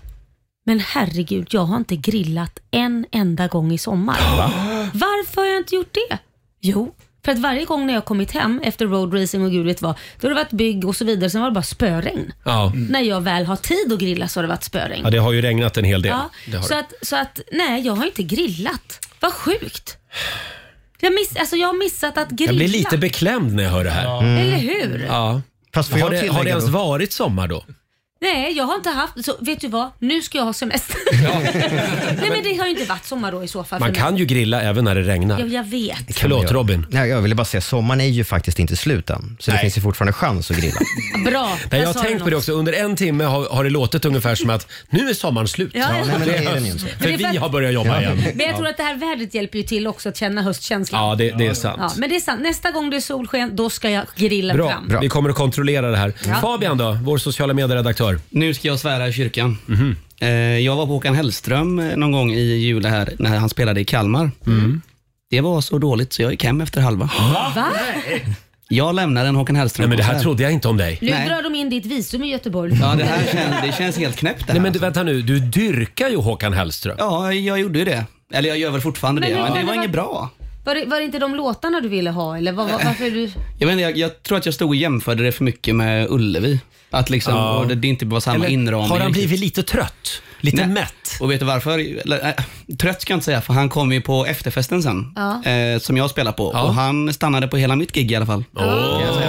men herregud, jag har inte grillat en enda gång i sommar. Varför har jag inte gjort det? Jo, för att varje gång när jag kommit hem efter roadracing och gud vet vad, då har det varit bygg och så vidare, sen var det bara spöregn.
Ja.
När jag väl har tid att grilla så har det varit spöregn.
ja, det har ju regnat en hel del.
Ja,
Det har
så,
det.
att, så att, nej, jag har inte grillat. Vad sjukt. Jag, miss, alltså jag har missat att grilla.
jag blir lite beklämd när jag hör det här.
Mm. Eller hur?
Ja.
Fast får
har,
jag
det, har det
tillägga
ens
då?
varit sommar då?
Nej, jag har inte haft, så vet du vad? Nu ska jag ha semester. Nej men det har ju inte varit sommar då i så fall.
Man
för mig.
kan ju grilla även när det regnar.
Ja, jag vet.
Förlåt Robin.
Nej, jag ville bara säga, sommaren är ju faktiskt inte slut än. Så det finns ju fortfarande chans att grilla.
Bra.
Nej, jag har
sa du
tänkt på
något.
det också. Under en timme har, har det låtit ungefär som att nu är sommaren slut.
Ja, ja. Nej, men det är den ju inte.
För
Men det är för
vi
att-
har börjat jobba igen.
Men jag tror att det här vädret hjälper ju till också att känna höstkänslan.
Ja, det, det är sant.
Ja, men det är sant. Nästa gång det är solsken, då ska jag grilla
Bra.
fram.
vi kommer att kontrollera det här.
Ja.
Fabian då, vår sociala medieredaktör.
Nu ska jag svära i kyrkan.
Mhm.
Eh, Jag var på Håkan Hellström eh, någon gång i juli här när han spelade i Kalmar.
Mm.
Det var så dåligt så jag gick hem efter halva.
Va?
Jag lämnar en Håkan Hellström.
Nej, men det här trodde jag inte om dig.
Nu drar de in ditt visum i Göteborg.
Ja, det här känns, det känns helt knäppt det
Nej,
här.
men du, vänta nu. Du dyrkar ju Håkan Hellström.
Ja, jag gjorde ju det. Eller jag gör väl fortfarande
Men
det,
hur
men
har
det
det
var inget
varit-
bra.
Var det, var det inte de låtarna du ville ha eller vad, vad, varför är du...
Jag, vet inte, jag, jag tror att jag stod och jämförde det för mycket med Ullevi. Att liksom,
Ja.
och det, det inte var samma inramning.
har han
riktigt.
blivit lite trött? Lite
Nej.
mätt?
Och vet du varför? Eller, äh, trött ska jag inte säga, för han kom ju på efterfesten sen,
Ja.
eh, som jag spelar på. Och han stannade på hela mitt gig i alla fall.
Mm.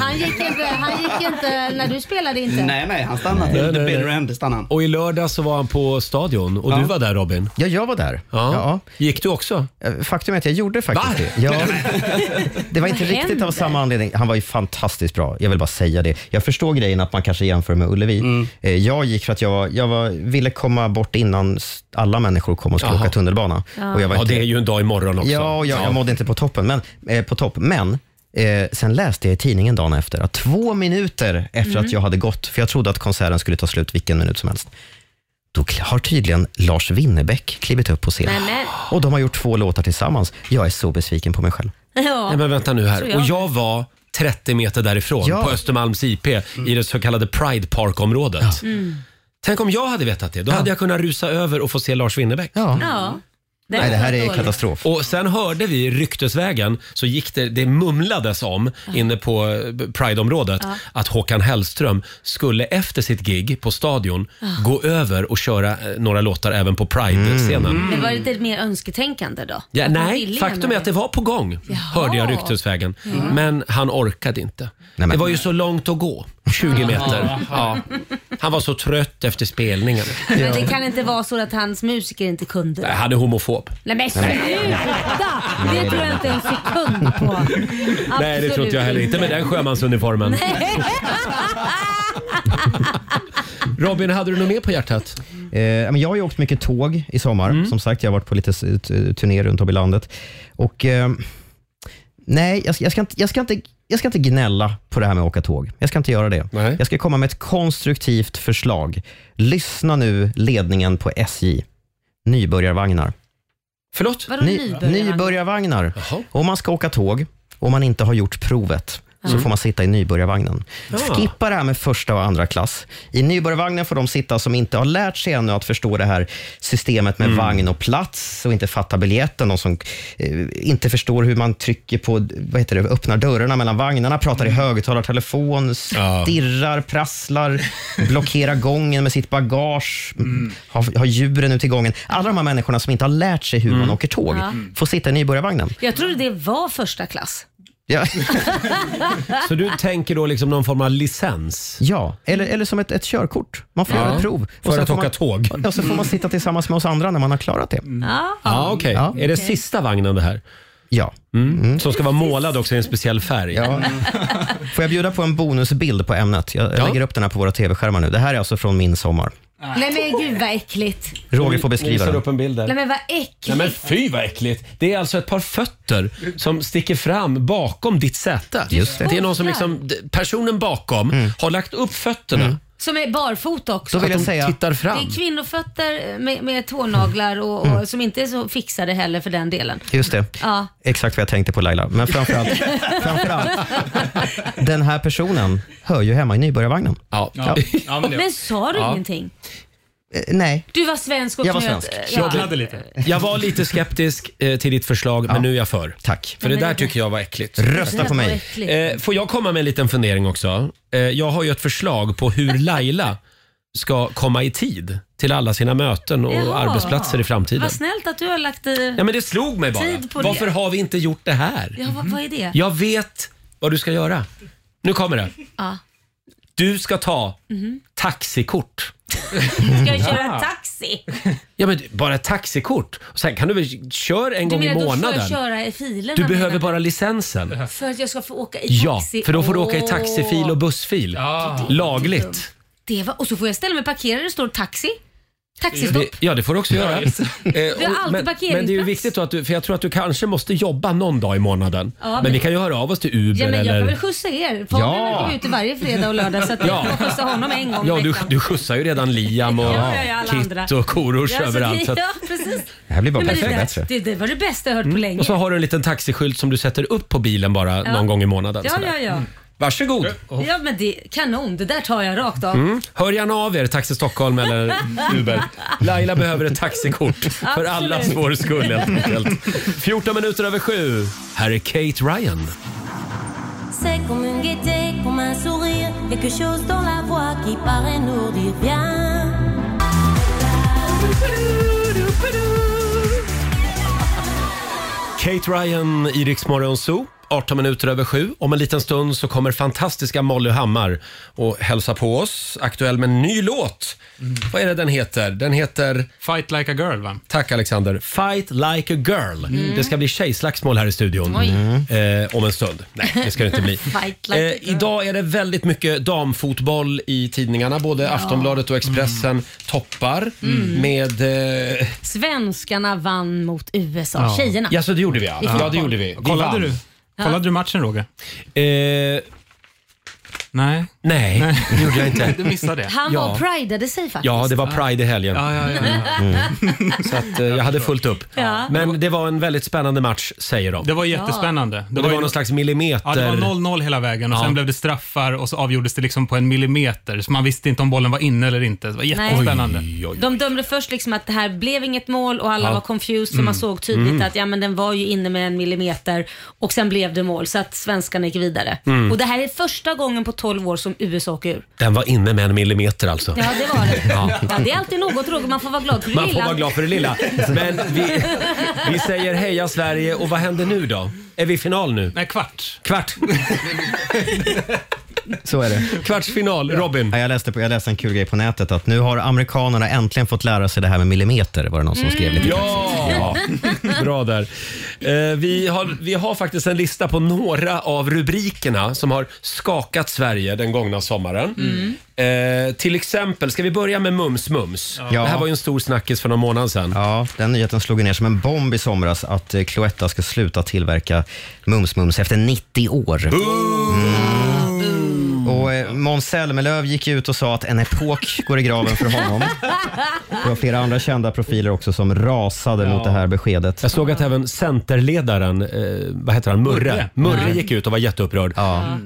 Han, gick inte, han gick inte när du spelade inte.
Nej, nej, han stannade till the bitter end. Stannade han.
Och i lördag så var han på stadion och du var där Robin.
Ja, jag var där.
Ja. Gick du också?
Eh, Faktum är att jag gjorde faktiskt
Va?
det. Ja. Det var inte
Vad
riktigt av
händer?
samma anledning. Han var ju fantastiskt bra. Jag vill bara säga det. Jag förstår grejen att man kanske jämför med Ullevi.
Mm.
Eh, Jag gick för att jag, var, jag var, ville komma bort innan s- alla människor kom och skulle åka tunnelbana. Och jag var
Ja,
inte-
det är ju en dag imorgon också.
Ja, och jag, jag mådde inte på toppen. Men, eh, på topp. men eh, sen läste jag i tidningen dagen efter att två minuter efter
Mm.
att jag hade gått, för jag trodde att konserten skulle ta slut vilken minut som helst, då kl- har tydligen Lars Winnerbäck klivit upp på scen.
Nej, men-
Och de har gjort två låtar tillsammans. Jag är så besviken på mig själv.
Nej,
Ja.
men vänta nu här.
Tror jag.
Och jag var 30 meter därifrån
Ja.
på Östermalms IP i det så kallade Pride Park-området. Tänk om jag hade vetat det. Då hade jag kunnat rusa över och få se Lars Winnerbäck.
Ja.
ja.
Nej, det här
var
är
dåligt.
katastrof.
Och sen hörde vi ryktesvägen, så gick det, det mumlades om inne på eh, Pride-området att Håkan Hellström skulle efter sitt gig på stadion gå över och köra eh, några låtar även på Pride-scenen.
Mm.
Men var det lite mer önsketänkande då?
Ja,
Att man
nej,
ville
faktum
gärna
är att det Mm. var på gång, hörde jag ryktesvägen. Men han orkade inte.
men-
Det var ju så långt att gå, 20 meter. Ja. Han var så trött efter spelningen.
Men det kan inte vara så att hans musiker inte kunde.
Nej, Han är homofob.
Nej men sluta! Det tror jag inte en sekund på.
Nej, det tror
Absolut
inte jag heller. Inte med den sjömansuniformen. Robin, hade du något mer på hjärtat?
Eh, men jag har ju åkt mycket tåg i sommar.
Mm.
Som sagt, jag har varit på lite s- t- turné runt om i landet. Och, eh, nej, jag, ska- jag, ska inte, jag, ska inte, jag ska inte gnälla på det här med att åka tåg. Jag ska inte göra det.
Nej.
Jag ska komma med ett konstruktivt förslag. Lyssna nu, ledningen på SJ. Nybörjarvagnar.
Förlåt?
Vadå nybörjare?
nybörjarvagnar.
Jaha.
Om man ska åka tåg och man inte har gjort provet så får man sitta i nybörjarvagnen.
Mm. Ja.
Skippa det här med första och andra klass. I nybörjarvagnen får de sitta som inte har lärt sig ännu att förstå det här systemet
Mm.
med vagn och plats och inte fattar biljetten. De som eh, inte förstår hur man trycker på, vad heter det, öppnar dörrarna mellan vagnarna, pratar
Mm.
i högtalartelefon, stirrar, prasslar, blockerar gången med sitt bagage,
Mm.
har, har djuren ute i gången. Alla de här människorna som inte har lärt sig hur man
Mm.
åker tåg får sitta i nybörjarvagnen.
Jag trodde det var första klass.
Ja.
Så du tänker då liksom någon form av licens?
Ja, eller, eller som ett, ett körkort. Man får göra ett prov.
För
sen
att
får
åka
man,
tåg.
Ja, så får man sitta tillsammans med oss andra när man har klarat det.
Ja.
Ja, okej.
Ja.
Är det sista vagnen det här?
Ja.
Mm. Som ska vara målad också i en speciell färg?
ja. Får jag bjuda på en bonusbild på ämnet? Jag, jag
Ja.
lägger upp den här på våra tv-skärmar nu. Det här är alltså från min sommar.
Nej men gud vad äckligt.
Roger får
Nu
beskriva
visar du
den.
upp en bild där.
Nej men vad
Nej
äckligt.
men fy vad äckligt. Det är alltså ett par fötter som sticker fram bakom ditt säte.
Just det. Mm.
är någon som liksom, d- personen bakom har lagt upp fötterna
Som är barfota också.
Då vill Mm. jag
och
säga,
tittar
Det
fram.
är kvinnofötter eh, med, med tånaglar och, och,
Mm.
som inte är så fixade heller för den delen.
just det,
Ja.
exakt vad jag tänkte på Laila. Men framförallt, framförallt den här personen hör ju hemma i nybörjarvagnen.
Ja.
Ja, ja men det.
Men sa du ingenting?
Eh, nej,
Du var svensk och
Jag var
knöt-
svensk.
Ja.
Hade lite.
Jag var lite skeptisk eh, till ditt förslag men nu är jag för.
tack.
För det där tycker jag var äckligt.
Rösta på mig.
Äckligt.
Eh, får jag komma med en liten fundering också? Eh, jag har ju ett förslag på hur Laila ska komma i tid till alla sina möten och
Jaha.
arbetsplatser i framtiden.
Vad snällt att du har lagt i...
Ja, men det slog mig bara.
Tid på det.
Varför har vi inte gjort det här?
Ja, vad, vad är det?
Jag vet vad du ska göra. Nu kommer det.
Ja.
Du ska ta taxikort. Mm.
Ska jag köra taxi?
Ja, men bara ett taxikort. Och Sen kan du väl köra en
Du
gång i
menar att då får jag
månaden.
köra i filerna?
Du behöver
menar
bara licensen.
För att jag ska få åka i
Ja,
taxi?
för då får du åka i
Åh.
taxifil och bussfil. Lagligt.
Det var, och så får jag ställa mig och parkera där det står taxi. Taxistopp.
Det, ja, det får du också göra. Eh,
har
och-
alltid
men,
parkeringsplats.
men det är ju viktigt då att du, för jag tror att du kanske måste jobba någon dag i månaden. men,
men-
vi kan ju höra av oss till Uber
Ja, men jag kan väl
eller...
skjutsa er? Fabian
Ja.
ja. går ute varje fredag och lördag så att jag får skjutsa honom en gång i
Ja, du,
veckan.
du skjutsar ju redan Liam och
liksom. Ja, ja, ja, alla andra.
Kit och Korosh
Ja, så det-
överallt. Så att,
Ja, precis.
Det här blir bara
Nej, men
bättre och
det,
bättre.
där, det, det var det
Mm.
bästa jag hört på länge.
Och så har du en liten taxiskylt som du sätter upp på bilen bara någon gång i månaden.
ja,
sådär.
ja, ja.
Varsågod.
Ja men det, kanon, det där tar jag rakt av.
Mm. Hör gärna av er, Taxi Stockholm eller Uber. Laila behöver ett taxikort för
Absolut.
allas vår skull helt enkelt. 14 minuter över sju. Här är Kate Ryan.
C'est comme une gaieté, comme un sourire, quelque chose dans la voix qui paraît nous dire bien.
Kate Ryan i Rix Morgon Zoo. 18 minuter över sju. Om en liten stund så kommer fantastiska Molly Hammar och hälsa på oss. Aktuell med en ny låt.
Mm.
Vad är det den heter? Den heter...
Fight like a girl, va?
Tack Alexander. Fight like a girl.
Mm.
Det ska bli tjejslagsmål här i studion.
Oj.
Eh, om en stund. Nej, det ska det inte bli.
Fight like a
Eh, idag är det väldigt mycket damfotboll i tidningarna. Både Aftonbladet och Expressen toppar
Mm.
med... Eh,
Svenskarna vann mot USA, tjejerna.
Ja, så det gjorde vi ja.
I
ja
fotboll.
det gjorde vi. vi
Kollade
vann.
du?
Ja.
Kollade du matchen Roger?
Eh,
Nej.
Nej, det gjorde jag inte.
Du missade det.
Han var
Ja.
och pridade sig faktiskt.
Ja, det var Pride i helgen. Mm. Så att, eh, jag hade fullt upp.
Ja.
Men det var en väldigt spännande match, säger de.
Det var jättespännande.
Det, var,
ju-
någon slags millimeter...
Ja, det var 0-0 hela vägen och
Ja.
sen blev det straffar och så avgjordes det liksom på en millimeter. Så man visste inte om bollen var inne eller inte. Det var jättespännande.
De dömde först liksom att det här blev inget mål och alla
Ja.
var confused för
Mm.
man såg tydligt
Mm.
att ja, men den var ju inne med en millimeter och sen blev det mål så att svenskarna gick vidare.
Mm.
Och det här är första gången på 12 år som USA åker ur.
Den var inne med en millimeter alltså.
Ja, det var det.
Ja.
ja. det är alltid något Roger, man får vara glad för det
Man får
lilla.
vara glad för det lilla. Men vi, vi säger heja Sverige och vad händer nu då? Är vi i final nu?
Nej, kvart.
Kvart.
Så är det.
Kvartsfinal, Robin.
Ja, jag, läste på, jag läste en kul grej på nätet att nu har amerikanerna äntligen fått lära sig det här med millimeter, var det någon som skrev lite
Ja! Bra där. Eh, vi, har, vi har faktiskt en lista på några av rubrikerna som har skakat Sverige den gångna sommaren. Eh, till exempel, ska vi börja med Mums Mums?
Ja.
Det här var ju en stor snackis för någon månad sedan.
Ja, den nyheten slog ju ner som en bomb i somras att eh, Cloetta ska sluta tillverka Mums-Mums efter 90 år. Mm. Och eh, Måns Zelmerlöw gick ut och sa att en epok går i graven för honom. Det var flera andra kända profiler också som rasade mot det här beskedet.
Jag såg att även centerledaren, eh, vad heter han, Murre,
Murre.
Murre
Ja.
gick ut och var jätteupprörd.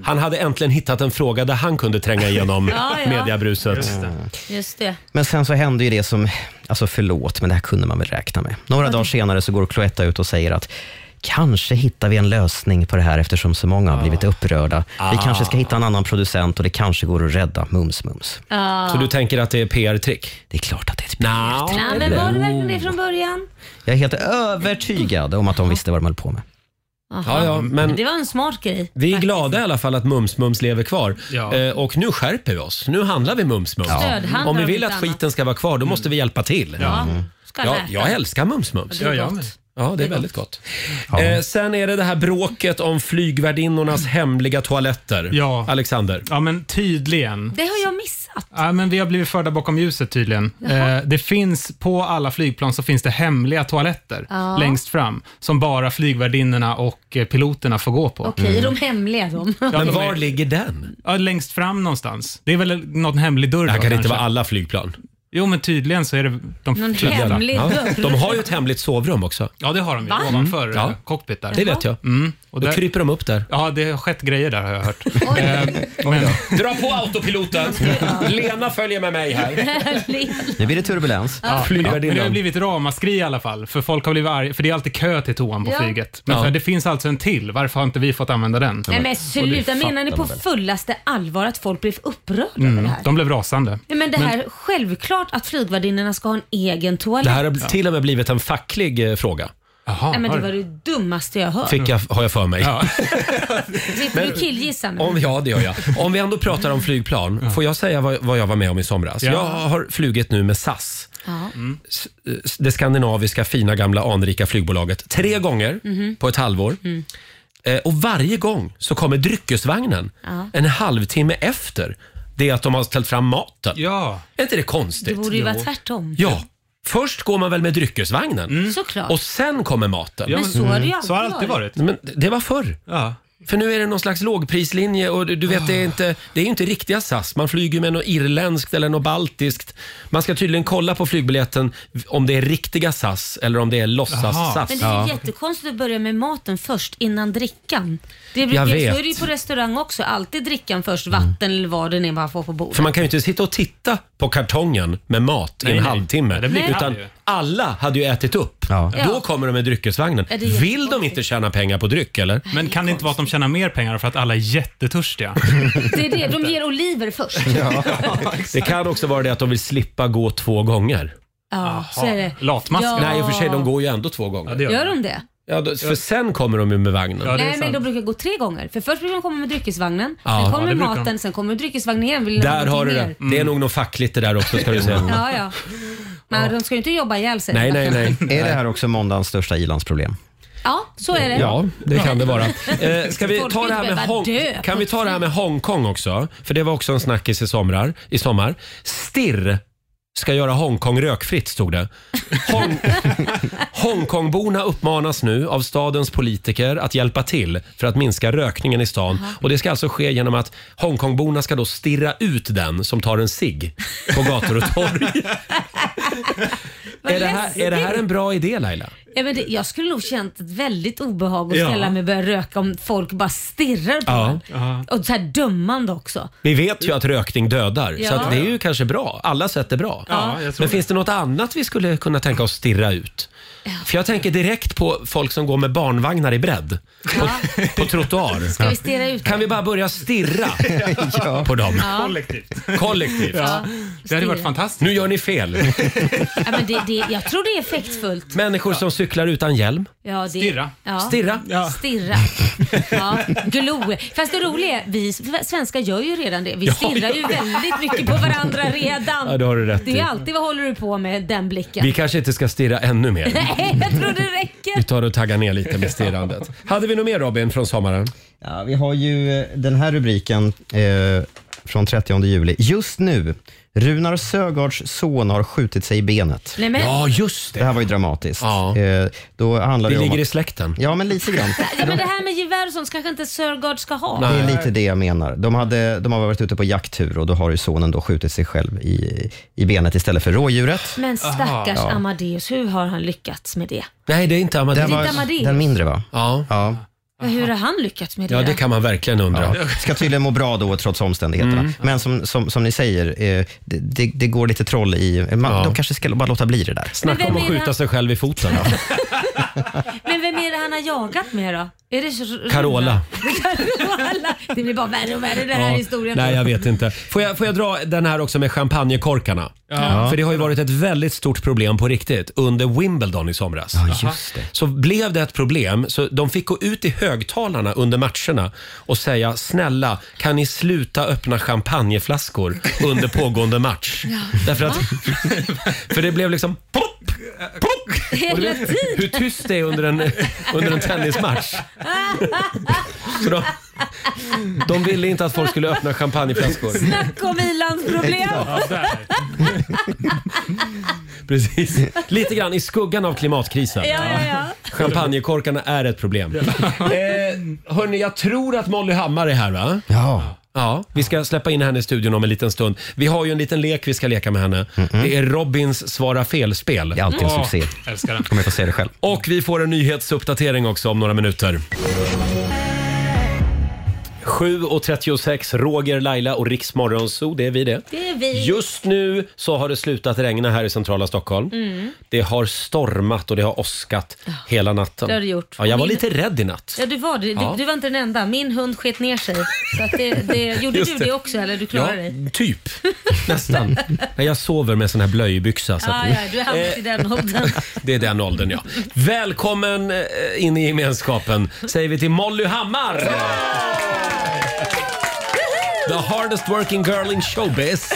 Han hade äntligen hittat en fråga där han kunde tränga igenom
Ja, ja.
mediabruset.
Just det.
Just det.
Men sen så hände ju det som, alltså förlåt, men det här kunde man väl räkna med. Några dagar senare så går Cloetta ut och säger att Kanske hittar vi en lösning på det här eftersom så många har blivit upprörda. Vi
Ah.
kanske ska hitta en annan producent och det kanske går att rädda Mums Mums.
Ja.
Så du tänker att det är PR-trick?
Det är klart att det är ett
PR-trick.
Ja, men var det verkligen det från början?
Jag är helt övertygad om att de visste vad de höll på med.
Aha.
Ja, ja, men-
Det var en smart grej.
Vi är glada i alla fall att Mums Mums lever kvar.
Ja.
Eh, och nu skärper vi oss. Nu handlar vi Mums Mums.
Ja. Stödhandlar
Om vi
om
vill att
inte
skiten ska vara kvar, då måste vi hjälpa till.
Ja. Mm. Ska
Ja,
lära.
jag älskar Mums Mums.
Det är Ja, jag gott. med.
Ja, det är väldigt gott. Eh, sen är det det här bråket om flygvärdinnornas hemliga toaletter.
Ja.
Alexander.
Ja, men tydligen.
Det har jag missat.
Ja, men vi har blivit förda bakom ljuset tydligen.
Jaha.
Eh, det finns, på alla flygplan så finns det hemliga toaletter
Ja.
längst fram som bara flygvärdinnorna och eh, piloterna får gå på.
Okej,
Mm.
är de hemliga de?
Men var
ligger den?
Ja, längst fram någonstans. Det är väl någon hemlig dörr
Det här
då,
kan inte
kanske.
vara alla flygplan.
Jo, men tydligen så är det de
Någon
flesta.
hemlig
Ja.
dörr.
De har ju ett hemligt sovrum också.
Ja, det har de ju
Va?
ovanför
Mm. Ja.
ja. cockpit där.
Det vet jag.
Mm. Och
Då
där,
kryper de upp där.
ja, det har skett grejer där har jag hört. Eh, men,
Dra på autopiloten! Lena följer med mig här.
Nu blir det turbulens.
Ja, men det har
Flygvärdinnan.
blivit ramaskri i alla fall, för folk har blivit arga, för det är alltid kö till toan på
Ja.
flyget. Men
Ja.
för det finns alltså en till, varför har inte vi fått använda den?
Nej men
Och det
sluta,
fattar
menar ni
man
på
väl.
fullaste allvar att folk blev upprörda över det
Mm,
här?
de blev rasande.
Nej, men det här, självklart att flygvärdinnorna ska ha en egen toalett.
Det här har till och med blivit en facklig eh, fråga.
Jaha,
Nej, men det
har-
var det dummaste jag hört.
Fick jag, har jag för mig.
Fick
men-
du killgissa nu?
Om, ja, det gör jag. Om vi ändå pratar om flygplan, får jag säga vad, vad jag var med om i somras?
Ja.
Jag har flugit nu med SAS,
Ja.
s- eh, det skandinaviska fina gamla anrika flygbolaget,
Mm.
tre gånger
Mhm.
på ett halvår. Eh, och varje gång så kommer dryckesvagnen
Ja.
en halvtimme efter det att de har ställt fram maten.
Ja.
Är inte det konstigt?
Det borde ju vara tvärtom. Mm.
Ja. Först går man väl med dryckesvagnen
Såklart.
Mm. och sen kommer maten.
Ja,
men så har det ju alltid
så har det alltid varit.
Men det var förr.
Ja.
För nu är det någon slags lågprislinje och du, du vet, det
Ah.
är inte, det är ju inte riktiga SAS. Man flyger med något irländskt eller något baltiskt. Man ska tydligen kolla på flygbiljetten om det är riktiga SAS eller om det är låtsas-SAS.
Men det är ju jättekonstigt att börja med maten först innan drickan. Det
Jag
brukar, så
vet. Mm.
är det ju på restaurang också. Alltid drickan först, vatten eller vad det är man får på bordet.
För man kan ju inte sitta och titta på kartongen med mat i
Nej,
en
nej.
halvtimme.
det blir Nej.
utan
kall ju.
alla hade ju ätit upp. Då
Ja.
kommer de med dryckesvagnen.
Ja, det är
Vill de inte tjäna pengar på dryck eller?
Men kan det inte vara att de tjänar mer pengar för att alla är jättetörstiga?
Det är det, de ger oliver först.
Ja. det kan också vara det att de vill slippa gå två gånger.
Ja, så är det. Ja.
Nej, i och för
Ah.
sig, de går ju ändå två gånger.
Gör de det?
Ja, då, för sen kommer de ju med vagnen.
Nej, men de brukar gå tre gånger. För först brukar de komma med dryckesvagnen,
Ja.
sen
Ja,
kommer
det brukar
maten,
de.
sen kommer dryckesvagnen igen. Vill de ha
Där har du
någonting
det.
mer?
Det är nog något fackligt det där också ska du säga.
Ja, ja. Men de ska ju inte jobba ihjäl sig.
Är det här också måndagens största ilandsproblem?
Ja, så är det.
Ja, det kan det vara. Eh, ska vi
Folk
ta
vill
det här med
behöva
Hong-
dö.
kan vi ta det här med Hongkong också? För det var också en snackis i, somrar, i sommar. Stirr ska göra Hongkong rökfritt, stod det. Hong- Hongkongborna uppmanas nu av stadens politiker att hjälpa till för att minska rökningen i stan. Och Det ska alltså ske genom att Hongkongborna ska då stirra ut den som tar en cigg på gator och torg.
Vad
är, det här, är det här en bra idé, Laila?
Ja, men det, jag skulle nog känt ett väldigt obehag att
Ja.
ställa mig och börja röka om folk bara stirrar på
Ja.
en. Och så här dömande också.
Vi vet ju att rökning dödar, så
Ja.
att det är ju kanske bra. Alla sätt är bra.
Ja,
Men
jag tror
finns det något annat vi skulle kunna tänka oss stirra ut? För jag tänker direkt på folk som går med barnvagnar i bredd på, på trottoar.
Ska vi stirra ut
Kan vi bara börja stirra på dem?
Ja.
Kollektivt. Kollektivt.
Ja,
Det hade varit fantastiskt. Nu gör ni fel.
Ja, men det, det, jag tror det är effektfullt.
Människor som cyklar utan hjälm.
Ja, det,
Stirra.
Ja.
Stirra. Ja.
Stirra. Ja. Glo. Fast det roliga är, vi svenskar gör ju redan det. Vi
Ja,
stirrar ju
ja.
väldigt mycket på varandra redan.
Ja, det har du rätt
Det
i.
är alltid, vad håller du på med, den blicken?
Vi kanske inte ska stirra ännu mer.
Nej, jag tror det
Vi
räcker.
tar och taggar ner lite med stirrandet. Hade vi något mer Robin från sommaren?
Ja, vi har ju eh, den här rubriken eh, från 30 juli. Just nu, Runar Sögaards son har skjutit sig i benet.
Nej, men- Ja,
just det.
Det här var ju dramatiskt. Eh, då handlar
Vi
det om
ligger
att-
i släkten.
Ja, men lite grann.
Ja, men det här med gevär och sånt kanske inte Sörgård ska ha.
Det är lite det jag menar. De, hade, de har varit ute på jakttur och då har ju sonen då skjutit sig själv i, i benet istället för rådjuret.
Men stackars
Ja.
Amadeus, hur har han lyckats med det?
Nej, det är inte Amadeus.
Det är inte Amadeus.
Den mindre va?
Ja.
ja.
Hur har han lyckats med det? då?
man verkligen undra.
Ska tydligen må bra då trots omständigheterna.
Mm.
Men som, som, som ni säger, eh, det, det, det går lite troll i... Man, De kanske ska bara låta bli det där.
Men vem om att är det skjuta han-
sig själv i foten.
Men vem är det han har jagat med då? Är det så-
Carola.
Carola. Det blir bara värre och värre den här
Ja,
historien.
Nej, jag vet inte. Får jag, får jag dra den här också med champagnekorkarna?
Ja.
För det har ju varit ett väldigt stort problem på riktigt under Wimbledon i somras.
Ja, just det.
Så blev det ett problem, så de fick gå ut i högtalarna under matcherna och säga snälla, kan ni sluta öppna champagneflaskor under pågående match?
Ja.
Därför att, för det blev liksom pop, pop. Och du
Hela
vet
tiden.
Hur tyst det är under en, under en tennismatch. Så de, de ville inte att folk skulle öppna champagneflaskor.
Snacka om ilandsproblem.
Ja, Precis. Lite grann i skuggan av klimatkrisen.
Ja, ja,
Champagnekorkarna är ett problem. Eh, hörni, jag tror att Molly Hammar är här va?
Ja.
Ja, vi ska släppa in henne i studion om en liten stund. Vi har ju en liten lek vi ska leka med henne. Det är Robins svara fel-spel. Det är
alltid en succé.
Älskar den.
Kommer jag få se det själv.
Och vi får en nyhetsuppdatering också om några minuter. 7.36, Roger, Laila och Riksmorgon Zoo, det är vi det.
Det är vi.
Just nu så har det slutat regna här i centrala Stockholm.
Mm.
Det har stormat och det har åskat hela natten.
det har det gjort.
Ja, jag var
Min-
lite rädd i natt.
Ja, du var det. Du,
Ja.
du var inte den enda. Min hund sket ner sig. Så att det, det, gjorde
Just
du
det.
det. också eller du klarade dig?
typ. Nästan. Nej, jag sover med sån här blöjbyxa. Så
Ja,
att, Eh.
ja, du är alltid i den åldern.
det är den åldern, ja. Välkommen eh, in i gemenskapen, säger vi till Molly Hammar! The hardest working girl in showbiz.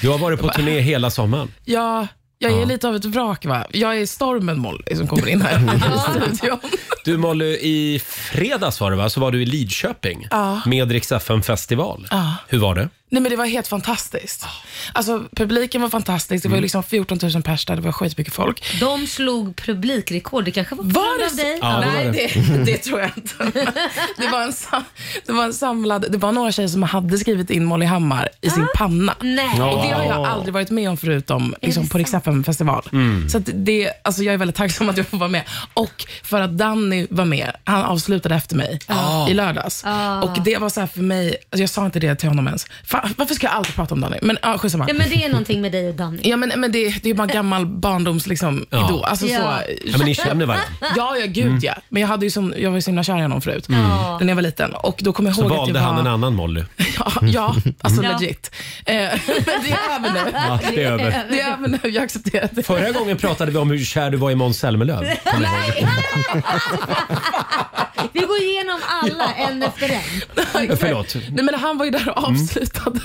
Du har varit på turné hela sommaren.
Ja, jag är lite av ett vrak va. Jag är stormen Molly som kommer in här i studion.
Du Molly, i fredags var det va? Så var du i Lidköping
Ja.
med Rix FM festival.
Ja.
Hur var det?
Nej men det var helt fantastiskt. Alltså publiken var fantastisk, det var ju
Mm.
liksom 14 000 pers där, det var skitmycket folk.
De slog publikrekord. Det kanske var på
Var
grund
det
av dig?
så? Nej, det, det tror jag inte. Det var, en sam, det var en samlad, det var några tjejer som hade skrivit in Molly Hammar i sin panna.
Nej.
Och det har jag
Wow.
aldrig varit med om förutom liksom, på Rix FM festival.
Mm.
Så att det, alltså, jag är väldigt tacksam att jag får vara med. Och för att Danny var med, han avslutade efter mig
Ah.
i lördags.
Ah.
Och det var så här för mig, alltså, jag sa inte det till honom ens. Fan, varför ska jag alltid prata om Danny? Men ja, skitsamma.
Ja, men det är någonting med dig och Danny.
Ja, men, men det, det är bara gammal barndoms liksom,
Ja.
idol. Alltså,
Ja.
Så,
Ja, men ni känner varandra.
Ja, ja gud
Mm.
ja. Men jag, hade ju som, jag var ju så himla kär i honom förut,
Mm.
när jag var liten. Och då kommer jag
Så
ihåg att
valde
det
han
var...
en annan Molly.
Ja, ja alltså
Mm.
legit. Eh, men det är över nu.
Ja, det är över.
Det är över nu, jag accepterar det.
Förra gången pratade vi om hur kär du var i Måns Zelmerlöw. Kommer jag ihåg.
Vi går igenom alla en efter en.
Exakt.
Förlåt.
Nej, men han var ju där och avslutade.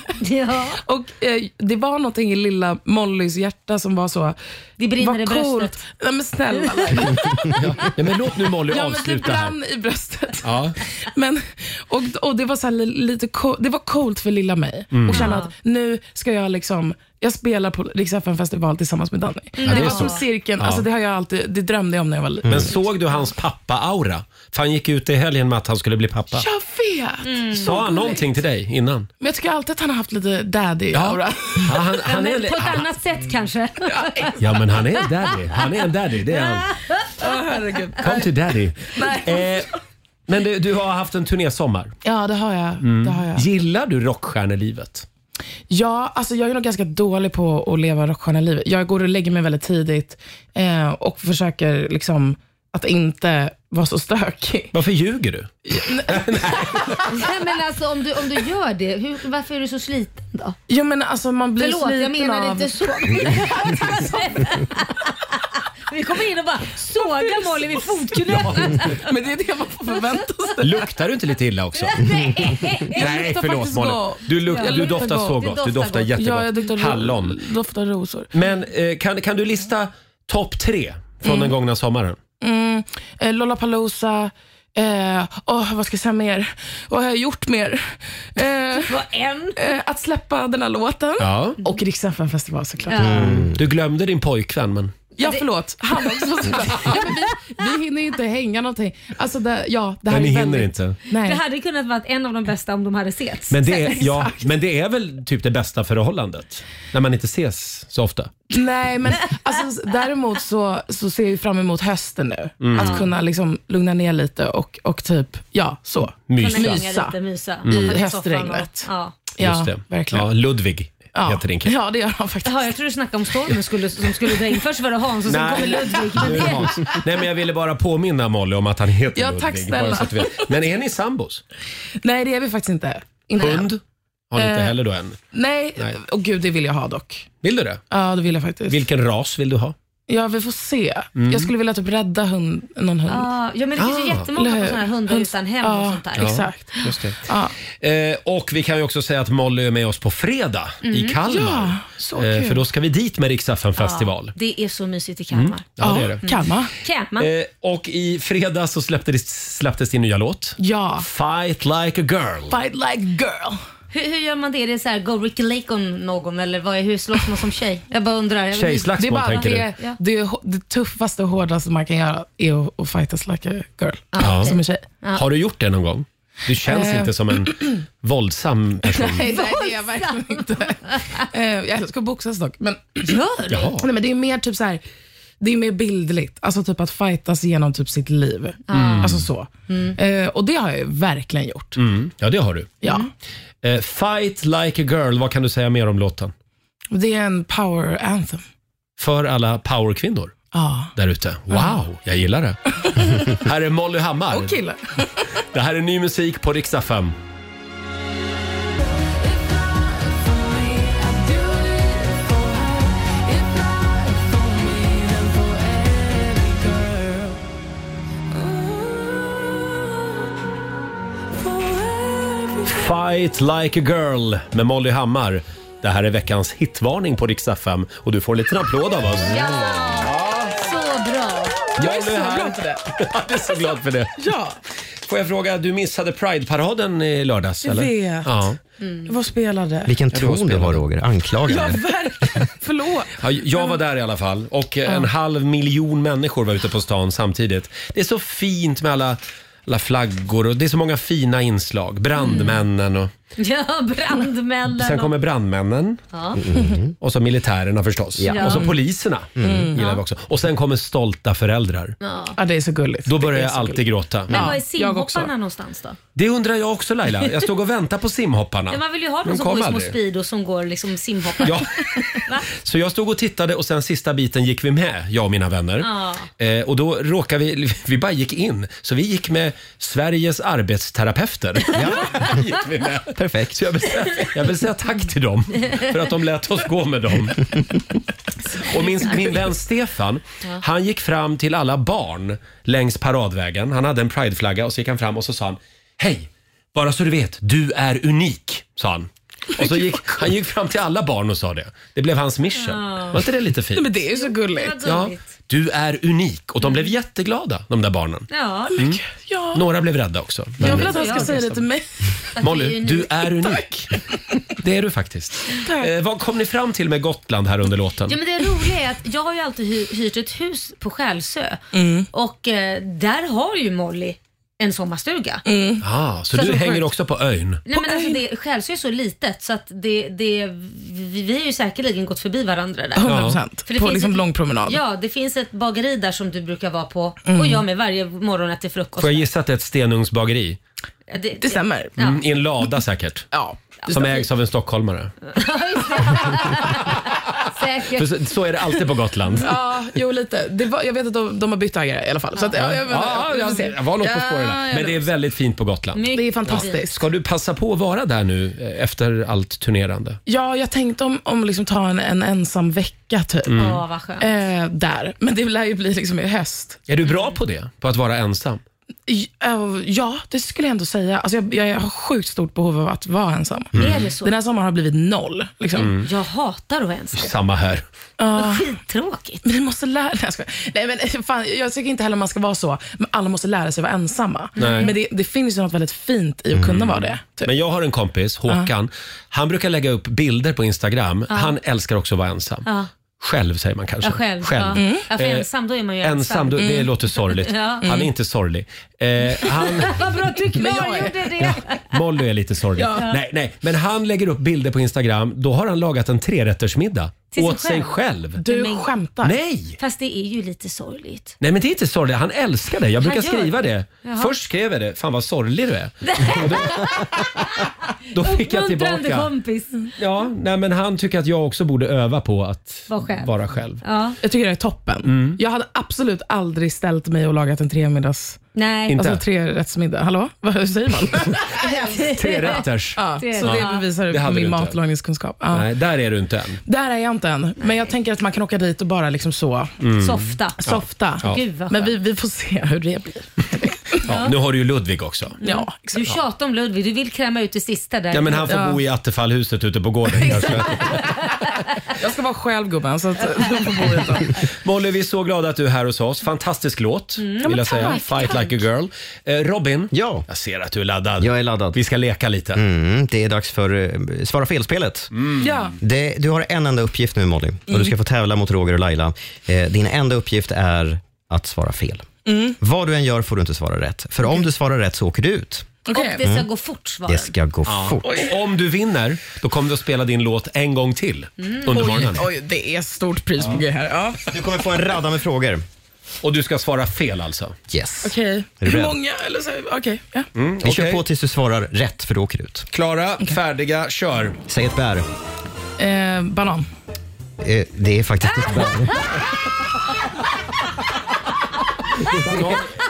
Och, eh, det var någonting i lilla Mollys hjärta som var så...
Det brinner
vad
i bröstet.
Nej, men snälla.
Ja, men låt nu Molly
ja, men det
avsluta här.
brann i bröstet.
Ja.
Men, och, och det var så här li- lite co- det var coolt för lilla mig
Mm.
och känna
Ja.
att nu ska jag liksom jag spelar på Rix FM festival tillsammans med Danny.
Ja, det
det
är
var
så.
som cirkeln,
Ja.
alltså det har jag alltid, det drömde jag om när jag var liten.
Men såg du hans pappa-aura? För han gick ut i helgen med att han skulle bli pappa.
Jag vet!
Sa han någonting till dig innan?
Men jag tycker alltid att han har haft lite daddy-aura.
Ja, han- han är li- På ett han-
annat sätt kanske.
Ja, men han är en daddy. Han är en daddy, det är han.
herregud.
Kom till daddy.
Nej.
Eh, men du, du har haft en turnésommar.
Ja, det har jag.
Mm.
Det har jag.
Gillar du rockstjärnelivet?
Ja, alltså jag är nog ganska dålig på att leva rockstjärnelivet. Jag går och lägger mig väldigt tidigt eh, och försöker liksom att inte vara så stökig.
Varför ljuger du?
Nej, men alltså, om, du, om du gör det, hur, varför är du så sliten då?
Ja, men alltså man blir
Förlåt,
sliten
jag menar
av...
inte så. Vi kommer in och bara sågar Molly vid fotknölarna.
Men det är det man får förvänta sig.
Luktar du inte lite illa också? Nej, förlåt Molly. Du, luk- du doftar så gott. Du doftar
Ja, jag
jättegott.
doftar ro-
Hallon.
doftar rosor.
Men eh, kan, kan du lista topp tre från
Mm.
den gångna sommaren?
Mm, eh, Lollapalooza. Eh, åh, vad ska jag säga mer? Vad har jag gjort mer? Eh,
en?
Eh, att släppa den här låten.
Ja.
Och Rix festival såklart.
Mm. Du glömde din pojkvän men...
Ja, förlåt. Han också. ja, men vi, vi hinner ju inte hänga någonting. Alltså, det, ja, det här
Men ni
är
hinner
väldigt...
inte.
Nej.
Det hade kunnat vara en av de bästa om de hade setts.
Men det, är, ja, men det är väl typ det bästa förhållandet? När man inte ses så ofta.
Nej, men alltså, däremot så, så ser jag ju fram emot hösten nu.
Mm.
Att
Ja.
kunna liksom lugna ner lite och, och typ, ja, så.
Mysa.
Kunna hänga lite, mysa.
Mm.
Komma till
Höstregnet.
soffan och- Ja.
Just det.
verkligen.
Ja, Ludvig
Ja.
heter din kille.
Ja, det gör han faktiskt.
Jaha, jag tror du snackade om stormen skulle, som skulle dra in. Först var det Hans och sen
Nej.
kommer Ludvig.
Nu är det Hans. Nej, men jag ville bara påminna Molly om att han heter
Ja,
Ludvig.
tack snälla.
bara så att du vet. Men är ni sambos?
Nej, det är vi faktiskt inte. inte än.
Hund har ni inte
Eh,
heller då än?
Nej,
Nej.
och gud, det vill jag ha dock.
Vill du det?
Ja, det vill jag faktiskt.
Vilken ras vill du ha?
Ja, vi får se.
Mm.
Jag skulle vilja typ rädda hund, någon hund.
Ah, ja, men det finns ju
Ah.
jättemånga
Eller
på
hur?
sådana här hundar
Hund-
utan hem och
Ja,
sånt där.
Ja,
Exakt.
Just det. Eh, och vi kan ju också säga att Molly är med oss på fredag
Mm.
i Kalmar.
Ja, så
eh,
kul.
för då ska vi dit med Rix festival.
Ja, det är så mysigt i Kalmar.
Mm. Ja, det är det.
Kalmar.
Kalmar.
Eh, och i fredags så släpptes, släpptes din nya låt.
Ja.
Fight like a girl.
Fight like girl.
Hur, hur gör man det? Är det så här, go Ricky Lake om någon eller vad är, hur slåss man som tjej? Jag bara undrar. Jag vet inte.
det är bara det, det, det tuffaste och hårdaste man kan göra är att, att fightas like a girl.
Ja.
Som en tjej.
Har du gjort det någon gång? Du känns
Eh.
inte som en våldsam person.
Nej, nej, det är jag verkligen inte. Eh, jag älskar att boxas dock. Men,
Gör
du? Jaha.
Nej, men det är mer typ så här, det är mer bildligt. Alltså typ att fightas genom typ sitt liv.
Mm.
Alltså så. Eh, och det har jag ju verkligen gjort.
Mm. Ja, det har du.
Ja.
Eh, Fight like a girl, vad kan du säga mer om låten?
Det är en power anthem.
För alla powerkvinnor
Ja.
där ute. Wow, jag gillar det. här är Molly Hammar.
Och killar.
Det här är ny musik på Rix FM. Fight like a girl med Molly Hammar. Det här är veckans hitvarning på Rix FM och du får en liten applåd av oss.
Ja. Så bra.
Jag
är
nu
så
här.
glad för det.
Jag är så glad för det.
Ja.
Får jag fråga, du missade Pride-paraden i lördags?
Jag
eller?
vet.
Ja.
Jag var och spelade.
Vilken
Ja, det var
ton du har Roger,
Ja,
anklagande.
verkligen. Förlåt.
Ja, jag var där i alla fall och en
Ja.
halv miljon människor var ute på stan samtidigt. Det är så fint med alla, alla flaggor och det är så många fina inslag. Brandmännen och
Ja, brandmännen.
sen
och-
kommer brandmännen. Mm.
Ja.
Och så militärerna förstås.
Ja.
Och så poliserna.
Mm.
Gillar vi också. Och sen kommer stolta föräldrar.
Ja.
Ja, det är så gulligt.
Då börjar
Det är
jag
så
alltid
gulligt.
gråta.
Men var är
jag också.
simhopparna någonstans då?
Det undrar jag också Laila. Jag stod och väntade på simhopparna.
Ja, man vill ju ha
De
någon som
kom
går i små
aldrig.
speedo som går liksom simhoppar.
Ja. Så jag stod och tittade och sen sista biten gick vi med, jag och mina vänner.
Ja.
Eh, och då råkade vi, vi bara gick in. Så vi gick med Sveriges arbetsterapeuter. gick vi med.
Perfekt.
Så jag vill, säga, jag vill säga tack till dem för att de lät oss gå med dem. Och min, min vän Stefan,
Ja.
han gick fram till alla barn längs paradvägen. Han hade en prideflagga och så gick han fram och så sa han Hej! Bara så du vet, du är unik, sa han. Och så gick, han gick fram till alla barn och sa det. Det blev hans mission.
Ja.
Var inte det lite fint?
Nej, men det är ju så gulligt.
Ja, du är unik. Och de blev jätteglada, de där barnen.
Ja.
Mm.
Ja.
Några blev rädda också.
Jag
Men-
vill att han ska säga det till mig.
Molly, du är unik. Det är du faktiskt. Eh, vad kom ni fram till med Gotland här under låten?
Ja, men det roliga är att jag har ju alltid hy- hyrt ett hus på Själsö
Mm.
och eh, där har ju Molly en sommarstuga.
Ah, så,
Så
du
att de
hänger
sköt-
också på ön?
Nej, men alltså, det, Själsö är så litet så att det, det, vi, vi har ju säkerligen gått förbi varandra där.
100%.
För det
På
finns
liksom
ett-
lång promenad.
Ja, det finns ett bageri där som du brukar vara på
Mm.
och jag med varje morgon äter frukost.
Får jag gissa att det är ett stenugnsbageri?
Ja, det,
Det stämmer.
Mm, I en lada säkert.
Ja.
Som ägs av en stockholmare.
Säkert.
För så, så är det alltid på Gotland.
Ja, jo lite. Det var, jag vet att de, de har bytt ägare i alla fall. Så att, ja, jag, vet-
Ja,
vi får se.
jag, jag var något på
Ja,
spåren där.
jag
Men det är väldigt fint på Gotland.
vet. det är fantastiskt.
Ska du passa på att vara där nu eh, efter allt turnerande?
Ja, jag tänkte om, om liksom ta en, en ensam vecka typ.
Mm. Ja,
vad skönt.
Eh, där. Men det lär ju bli liksom i höst.
Är du bra på det? På att vara ensam?
J- eh, Ja, det skulle jag ändå säga. Alltså jag, jag har sjukt stort behov av att vara ensam.
Mm. Är det
så?
Den här sommaren har blivit noll. Liksom.
Mm.
Jag hatar att vara ensam.
Samma här. Ah.
Uh,
Skittråkigt.
Mm.
Vi måste lära Nej, jag skojar. Nej, men, eh, fan, jag tycker inte heller man ska vara så, men alla måste lära sig vara ensamma.
Nej. Mm.
Men det, det finns ju något väldigt fint i att kunna vara det. Typ,
Men jag har en kompis, Håkan. Han brukar lägga upp bilder på Instagram.
Ja.
Han älskar också att vara ensam.
Ja.
Själv säger man kanske.
Ja, själv. Ja. Ja, för
Eh,
ensam, då är man ju ensam.
Ensam, då- det
Mm.
låter sorgligt.
Ja. Mm.
Han är inte sorglig. Eh, han,
Vad bra att du
Men jag är-
klargjorde det.
Molly är lite sorglig.
Ja.
Nej, nej. Men han lägger upp bilder på Instagram. Då har han lagat en trerättersmiddag
Till sig
åt sig själv.
Du skämtar?
Nej!
Fast det är ju lite sorgligt.
Nej men det är inte sorgligt, han älskar det. Jag brukar
Han gör
skriva det.
det. Jaha.
Först skrev jag det, fan vad sorglig du är. Då fick jag
Uppmuntrande
tillbaka. Mm.
kompis.
Ja, nej men han tycker att jag också borde öva på att
Var själv.
vara själv.
Ja.
Jag tycker det är toppen.
Mm.
Jag hade absolut aldrig ställt mig och lagat en tremiddags...
Nej.
Alltså
Inte?
trerättsmiddag. Hallå? Vad hur säger man?
Trerätters.
ja, så
Ja.
det bevisar
Det hade du
min
inte.
matlagningskunskap. Ja.
Nej, där är du inte än.
Där är jag inte än, men jag tänker att man kan åka dit och bara liksom så...
Mm. Softa.
Softa.
Ja. Gud, vad
Men vi, vi får se hur det blir. Mm.
Ja, nu har du ju Ludvig också.
Ja,
du tjatar om Ludvig, du vill kräma ut det sista där.
Ja men han får bo i Attefallhuset ute på gården kanske.
Jag ska vara själv gumman, så att du får bo utan.
Molly, vi är så glada att du är här hos oss. Fantastisk låt,
Mm. Ja,
vill
men
jag säga.
tack,
Fight
tack.
like a girl. Eh, Robin, ja. jag ser att du är laddad.
Jag är laddad.
Vi ska leka lite.
Mm, det är dags för eh, Svara fel-spelet.
Mm.
Ja.
Det, du har en enda uppgift nu Molly och du ska få tävla mot Roger och Laila. Eh, din enda uppgift är att svara fel.
Mm.
Vad du än gör får du inte svara rätt. För om du svarar rätt så åker du ut.
Och det ska
Mm.
gå fort svaren.
Det ska gå
Ja.
fort.
Och Om du vinner, då kommer vi att spela din låt en gång till
Mm.
under morgonen.
Oj, oj, det är stort pris på G här. Ja.
Du kommer få en radda med frågor.
Och du ska svara fel alltså?
Yes.
Okej.
Är du
Hur
beredd?
många? Eller så, okej. ja.
Mm,
Vi kör på tills du svarar rätt för då åker du ut.
Klara, färdiga, kör.
Säg ett bär.
Eh, banan.
Eh, det är faktiskt ett bär.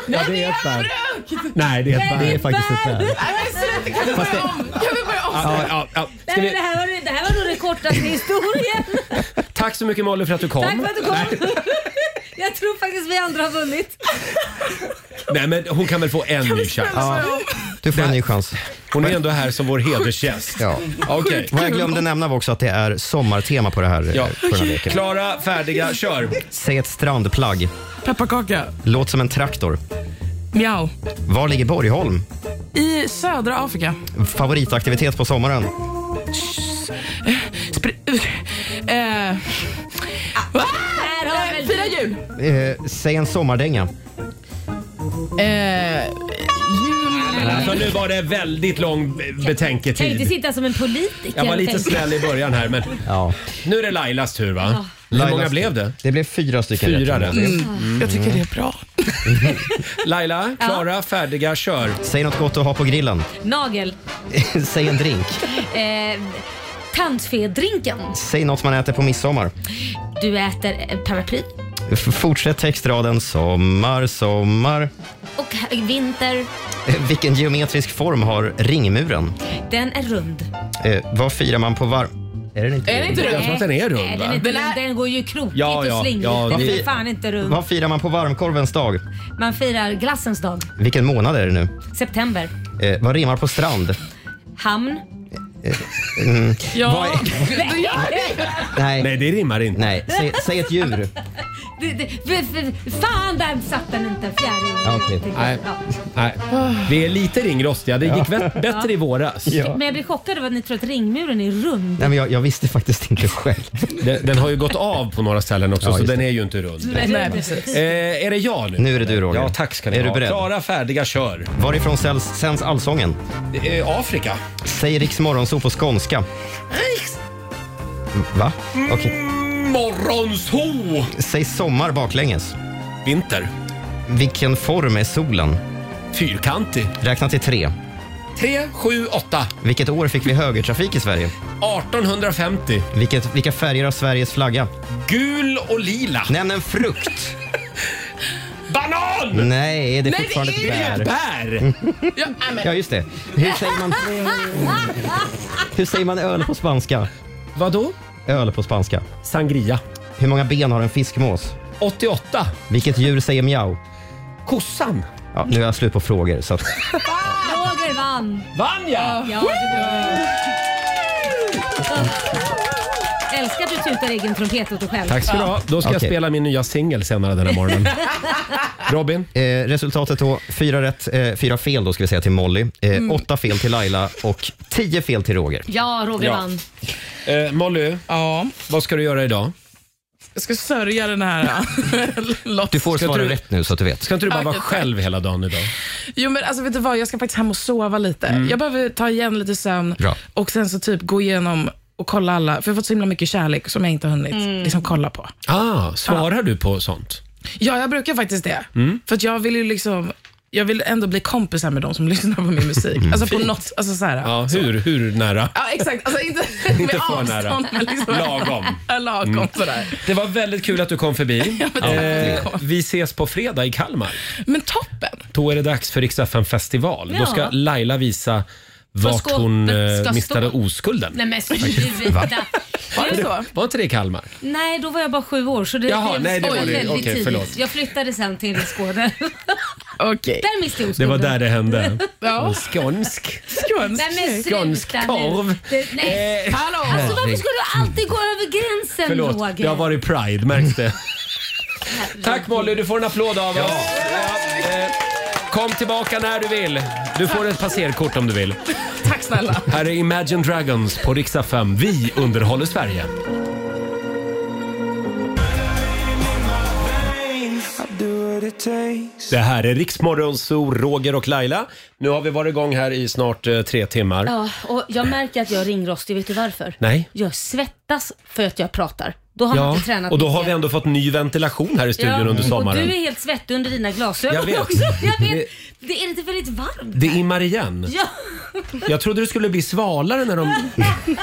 Ja, det är ett bär. Nej, det är ett bär.
Det är faktiskt ett bär.
Kan vi börja om? Kan vi börja om?
Ja, ja, ja. Ska
Nej, men
vi...
det, här var, det här var nog det kortaste i historien.
Tack så mycket Molly för att du kom.
Tack för att du kom. Jag tror faktiskt vi andra har vunnit.
Nej, men hon kan väl få en ny chans.
snälla
Ja.
svara om?
Du får en ny chans.
Hon är ändå här som vår hedersgäst.
Ja.
Okej.
Vad jag glömde nämna var också att det är sommartema på, det här,
Ja.
på den här leken.
Klara, färdiga, kör!
Säg ett strandplagg.
Pepparkaka.
Låt som en traktor.
Miau.
Var ligger Borgholm?
I södra Afrika.
Favoritaktivitet på sommaren?
Spr- eh, ah, eh, fira jul.
Eh, säg en sommardänga.
Eh,
Alltså, nu var det väldigt lång
Kan ju inte
betänketid.
sitta som en politiker.
Jag var
och
lite
tänka-
snäll i början här men
ja.
nu är det Lailas tur va? Hur
Lailas
många
tur.
blev det?
Det blev fyra stycken
Fyra
rätt.
rätt.
Mm. Jag tycker det är bra.
Laila, klara, färdiga, kör.
Säg något gott att ha på grillen.
Nagel.
säg en drink.
Eh, Tandfedrinken.
Säg något man äter på midsommar.
Du äter eh, paraply.
F- fortsätt textraden sommar, sommar.
Och här- vinter.
Eh, Vilken geometrisk form har ringmuren?
Den är rund.
Eh, vad firar man på var... Är den inte,
Jag tror att den är
Nej,
rund
den, är
va?
inte, rund. den går ju krokigt
Ja, ja,
och slingigt.
ja,
den
det-
är fan inte rund.
Vad firar man på varmkorvens dag?
Man firar glassens dag.
Vilken månad är det nu?
September.
Eh, vad rimmar på strand?
Hamn.
Mm.
Ja.
Nej.
Nej, det rimmar inte.
Nej, säg, säg ett djur.
Det- det- för- för- Fan, där satt den inte. Fjärilen.
okej.
tycker jag.
Nej.
Ja.
Nej. Vi är lite ringrostiga. Det gick
Ja.
vä- bättre i våras.
Men jag blir chockad av att ni tror att ringmuren är rund.
Nej, men jag, jag visste faktiskt inte själv.
Den, den har ju gått av på några ställen också
Ja,
så
just
den
det.
är ju inte rund.
Nej, precis.
Eh, är det jag nu?
Nu är det du Roger.
Ja, tack ska ni
Är
ha.
du beredd?
Klara, färdiga, kör.
Varifrån sänds, sänds allsången?
Eh, Afrika.
Säg Riks Morgonzoo på skånska. Va? Okej.
Morgonzoo!
Säg sommar baklänges.
Vinter.
Vilken form är solen?
Fyrkantig.
Räkna till tre.
3, 7, 8.
Vilket år fick vi högertrafik i Sverige?
1850.
Vilket, vilka färger har Sveriges flagga?
Gul och lila.
Nämn en frukt.
Banan!
Nej, det är
Nej,
fortfarande
det är
ett
Ett
bär.
bär. äh,
Ja, nej, men-
Ja, just det. Hur säger man, hur säger man öl på spanska?
Vadå?
Öl på spanska.
Sangria.
Hur många ben har en fiskmås?
88.
Vilket djur säger miau?
Kossan.
Ja, nu är jag slut på frågor. Så att,
Roger vann.
Vann jag?
Ja, det var- Älskar att du tutar egen trumpet åt dig själv.
Tack ska du ha. Då ska jag
Okej.
spela min nya singel senare den här morgonen. Robin?
eh, resultatet då, fyra rätt, eh, fyra fel då ska vi säga till Molly, eh, åtta fel till Laila och tio fel till Roger.
Ja, Roger
Ja.
vann.
Eh, Molly,
Ja,
vad ska du göra idag?
jag ska sörja den här eh,
Du
låten.
får
Ska
svara
du-
rätt nu så att du vet.
Ska inte du bara vara
Tack.
själv hela dagen idag?
Jo, men alltså, vet du vad? Jag ska faktiskt hem och sova lite. Jag behöver ta igen lite sömn
Bra.
och sen så typ gå igenom och kolla alla, för jag har fått så himla mycket kärlek som jag inte har hunnit liksom, kolla på.
Ah, svarar du på sånt?
Ja, jag brukar faktiskt det.
Mm.
För att jag vill ju liksom, jag vill ändå bli kompisar med de som lyssnar på min musik. Alltså på något, alltså så här.
Mm. Ja, hur, hur nära?
Ja, exakt. Alltså inte, med
för
avstånd,
nära.
men Liksom,
Lagom. Mm.
Ja, Lagom sådär.
Det var väldigt kul att du kom förbi. eh, vi ses på fredag i Kalmar.
Men toppen.
Då är det dags för Rix FM festival. Då
Ja.
ska Laila visa vart
skåpet
hon
ska
eh,
stå.
mistade oskulden.
Nej men sluta.
Var det så?
Var inte det i Kalmar?
Nej, då var jag bara sju år så det,
Jaha,
det,
nej, det var det.
väldigt
Okej,
tidigt.
förlåt.
Jag flyttade sen till Skåne.
Okej.
där miste jag
Det var
oskulden.
där det hände.
Ja.
Skånsk.
Skånsk.
Nej, men sluta
Skånsk
nu.
korv.
Det- Nej.
Eh,
Hallå!
Alltså varför skulle du alltid gå över gränsen
Förlåt,
Roger?
det har varit Pride, märks det? Tack Molly, du får en applåd av oss. Ja, eh, Kom tillbaka när du vill. Du får ett passerkort om du vill.
Tack snälla.
Här är Imagine Dragons på riksdag 5. Vi underhåller Sverige. Det här är Riksmorgonzoo, Roger och Laila. Nu har vi varit igång här i snart eh, tre timmar.
Ja, och jag märker att jag är ringrostig, vet du varför?
Nej.
Jag svettas för att jag pratar. Då har man
Ja,
inte tränat
och då har
mycket.
vi ändå fått ny ventilation här i studion under sommaren.
Och du är helt svettig under dina glasögon
Jag vet.
också. Jag vet. Det är inte väldigt varmt?
Det immar igen.
Ja.
Jag trodde det skulle bli svalare när de,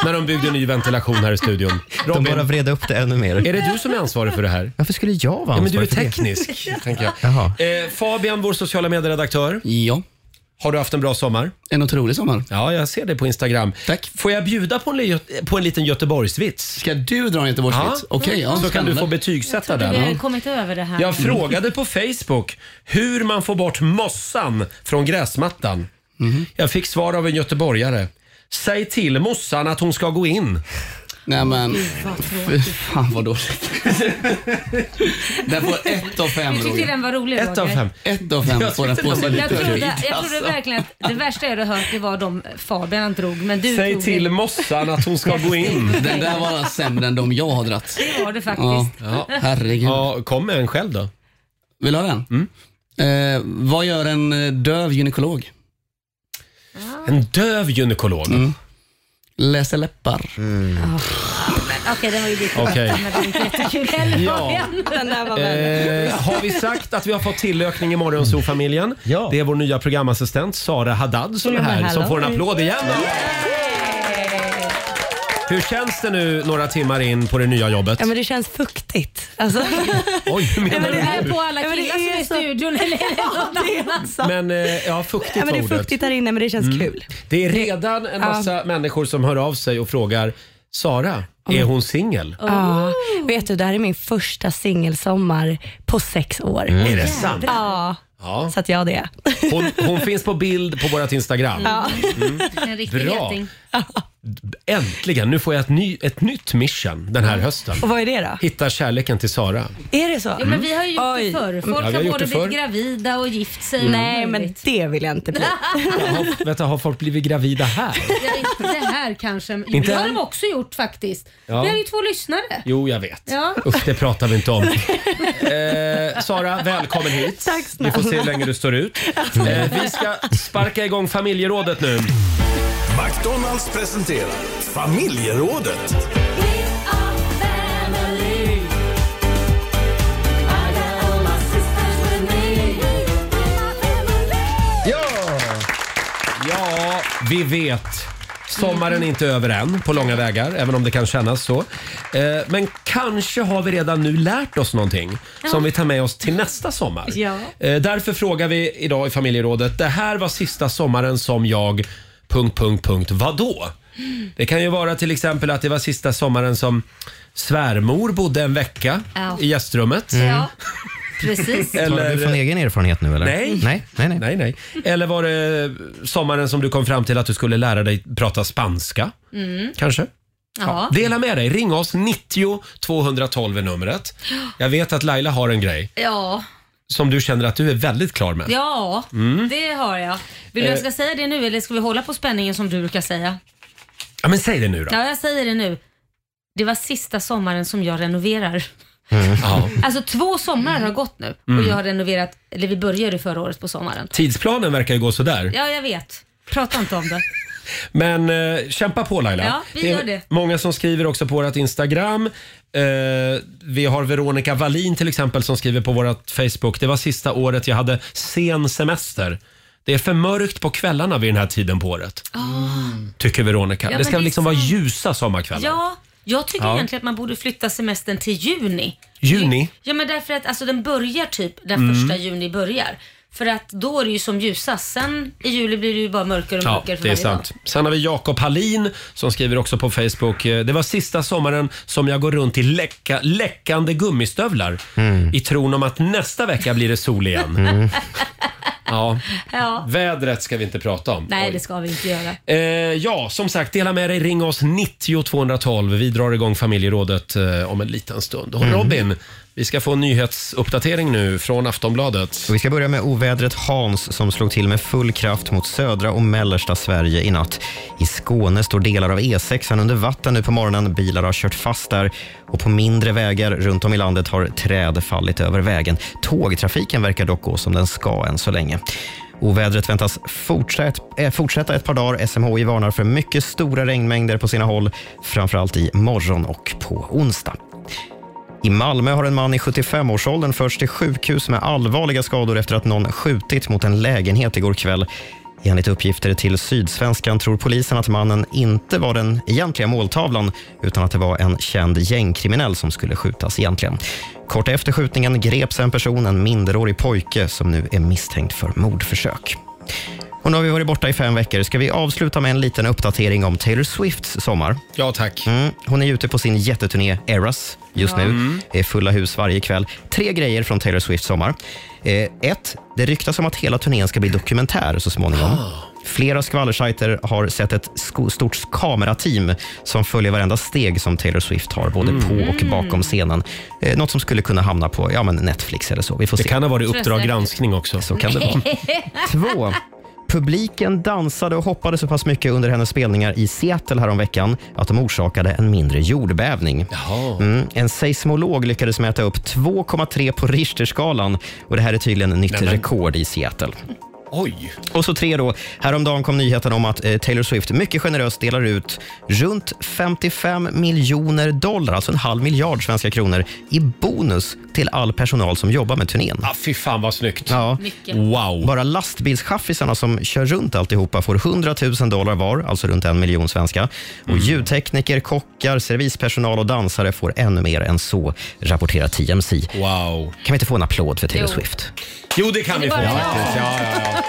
när de byggde ny ventilation här i studion.
De
Robin,
bara vreda upp det ännu mer.
är det du som är ansvarig för det här?
Varför skulle jag vara
Ja, men du är
ansvarig för det?
teknisk, tänker
Jaha.
jag. Eh, Fabian, vår sociala medieredaktör.
Ja,
Har du haft en bra sommar?
en otrolig sommar.
Ja, jag ser det på Instagram.
Tack.
Får jag bjuda på en, li- på en liten Göteborgsvits?
Ska du dra en Göteborgsvits?
Ja.
Okej,
Så
ja.
kan du
spännande.
få betygsätta
Vi har ju
den.
kommit över det här.
Jag frågade på Facebook hur man får bort mossan från gräsmattan. Jag fick svar av en göteborgare. Säg till mossan att hon ska gå in.
Nej men,
Gud, vad tråkigt.
fy fan vad dåligt. den får ett av fem
Du tyckte den var rolig
Ett av fem. Ett av fem får den på sig
Jag
lite
trodde,
skit,
jag trodde
alltså.
verkligen att det värsta jag hade hört det var de Fabian drog. Men du
Säg
tog
till
det.
mossan att hon ska gå in.
Den där var
sämre än de jag har dratt.
Det var det faktiskt.
herregud.
Ja, kom med en själv då.
Vill du ha den? Eh, vad gör en eh, döv gynekolog?
En döv gynekolog?
Läser läppar.
Men Okej, den var ju lite
Okej.
men den var inte jättekul heller
Ja.
Fabian. Den där var värre.
Eh, har vi sagt att vi har fått tillökning i Morgonzoo-familjen? Det är vår nya programassistent Sara Haddad som är
Ja, men
här, som
hallå.
får en applåd igen. Hur känns det nu några timmar in på det nya jobbet?
Ja, men det känns fuktigt. Alltså.
Oj, hur
Ja,
menar
men
du?
det är
Är på alla
Ja, men det
killar som
är
är i
så-
studion eller är det
Ja,
någon
det är
annan?
Men eh, ja, fuktigt
Ja, men det är
var ordet. Mm.
fuktigt här inne men det känns kul.
Det är redan en massa människor som hör av sig och frågar Sara, är hon singel?
Ja, vet du, det här är min första singelsommar på sex år.
Mm. Är det sant?
Ja,
Ja.
så att jag det.
Hon, hon finns på bild på vårt Instagram.
Ja. Mm.
En riktig
Bra.
geting.
Äntligen, nu får jag ett, ny, ett nytt mission den här hösten.
Och vad är det då?
Hitta kärleken till Sara.
Är det så?
Ja, men vi har ju gjort det förr.
Ja,
Folk
vi har
har
gjort
både
det förr.
blivit gravida och gift sig.
Mm.
och
Nej, men
möjligt.
det vill jag inte bli.
Har, vänta, har folk blivit gravida här?
Ja, inte det här kanske. Jo,
Inte
det har
än?
de också gjort faktiskt.
Ja.
Vi har ju två lyssnare.
Jo, jag vet.
Ja.
Usch, det pratar vi inte om. Eh, Sara, välkommen hit.
Tack
Vi
snälla.
får se hur länge du står ut. Eh, vi ska sparka igång familjerådet nu.
McDonalds presenterar Familjerådet.
Ja! Ja, vi vet. Sommaren är inte över än på långa vägar, även om det kan kännas så. Eh, Men kanske har vi redan nu lärt oss någonting som vi tar med oss till nästa sommar.
Ja.
Eh, Därför frågar vi idag i familjerådet, det här var sista sommaren som jag... Punkt, punkt, punkt. Vadå? Det kan ju vara till exempel att det var sista sommaren som svärmor bodde en vecka
Ja.
i gästrummet.
Ja, precis.
Eh,
Talar du från egen erfarenhet nu eller?
Nej.
Nej, nej, nej.
Nej, nej. Eller var det sommaren som du kom fram till att du skulle lära dig prata spanska?
Mm.
Kanske?
Ja.
Dela med dig. Ring oss. 90 212 är numret. Jag vet att Laila har en grej
Ja,
som du känner att du är väldigt klar med.
ja
Mm.
det har jag. Vill du
Eh.
jag ska säga det nu eller ska vi hålla på spänningen som du brukar säga?
Ja, men säg det nu då.
Ja, jag säger det nu. Det var sista sommaren som jag renoverar.
Mm. Ja.
Alltså två somrar har gått nu och
Mm.
jag har renoverat, eller vi började förra året på sommaren.
Tidsplanen verkar ju gå sådär.
Ja, jag vet. Prata inte om det.
Men eh, kämpa på Laila.
Ja, vi
är
gör det.
Många som skriver också på vårt Instagram. Eh, vi har Veronica Wallin till exempel som skriver på vårt Facebook. Det var sista året jag hade sen semester. Det är för mörkt på kvällarna vid den här tiden på året, tycker Veronica.
Ah. Ja, men
det ska
det är
liksom vara
sant.
ljusa sommarkvällar.
Ja, jag tycker
Ja.
egentligen att man borde flytta semestern till juni.
Juni?
Ja, men därför att alltså, den börjar typ där
Mm.
första juni börjar. För att då är det ju som ljusast. Sen i juli blir det ju bara mörkare och
Ja,
mörkare för
det är
varje
sant. Sen har vi Jakob Hallin som skriver också på Facebook. eh, Det var sista sommaren som jag går runt i läcka, läckande gummistövlar i tron om att nästa vecka blir det sol igen. Ja.
dag. Ja.
Vädret ska vi inte prata om.
Nej, det ska vi inte göra.
Eh, ja, som sagt, dela med dig. Ring oss 90 212. Vi drar igång familjerådet eh, om en liten stund. Och Robin, vi ska få en nyhetsuppdatering nu från Aftonbladet.
Och vi ska börja med ovädret Hans som slog till med full kraft mot södra och mellersta Sverige i natt. I Skåne står delar av E6 under vatten nu på morgonen. Bilar har kört fast där och på mindre vägar runt om i landet har träd fallit över vägen. Tågtrafiken verkar dock gå som den ska än så länge. Ovädret väntas fortsätt, eh, fortsätta ett par dagar. SMHI varnar för mycket stora regnmängder på sina håll, framförallt i morgon och på onsdag. I Malmö har en man i 75-årsåldern förts till sjukhus med allvarliga skador efter att någon skjutit mot en lägenhet igår kväll. Enligt uppgifter till Sydsvenskan tror polisen att mannen inte var den egentliga måltavlan utan att det var en känd gängkriminell som skulle skjutas egentligen. Kort efter skjutningen greps en person, en minderårig pojke, som nu är misstänkt för mordförsök. Och nu har vi varit borta i fem veckor. Ska vi avsluta med en liten uppdatering om Taylor Swifts sommar?
Ja, tack.
Mm, hon är ute på sin jätteturné Eras just
Ja.
nu.
Mm.
Det är fulla hus varje kväll. Tre grejer från
Ah.
Taylor Swifts sommar. Eh, ett, det ryktas om att hela turnén ska bli dokumentär så småningom. Flera skvallersajter har sett ett sko- stort kamerateam som följer varenda steg som Taylor Swift har, både
Mm.
på och bakom scenen. Eh, något som skulle kunna hamna på ja, men Netflix eller så. Vi får
Det
se.
kan ha varit Uppdrag granskning också.
Så kan det vara. Två. Publiken dansade och hoppade så pass mycket under hennes spelningar i Seattle häromveckan att de orsakade en mindre jordbävning. Mm, en seismolog lyckades mäta upp 2,3 på Richterskalan och det här är tydligen nytt rekord i Seattle.
Oj!
Och så tre då. Häromdagen kom nyheten om att eh, Taylor Swift mycket generöst delar ut runt 55 miljoner dollar, alltså en halv miljard svenska kronor, i bonus till all personal som jobbar med turnén.
Ah, fy fan vad snyggt.
Ja.
Mycket. Wow.
Bara lastbilschaffisarna som kör runt alltihopa får 100 000 dollar var, alltså runt en miljon svenska. Och ljudtekniker, kockar, servispersonal och dansare får ännu mer än så, rapporterar TMC.
Wow.
Kan vi inte få en applåd för Taylor
Jo.
Swift?
Jo, det kan vi få
bara jag?
faktiskt. Ja, ja, ja.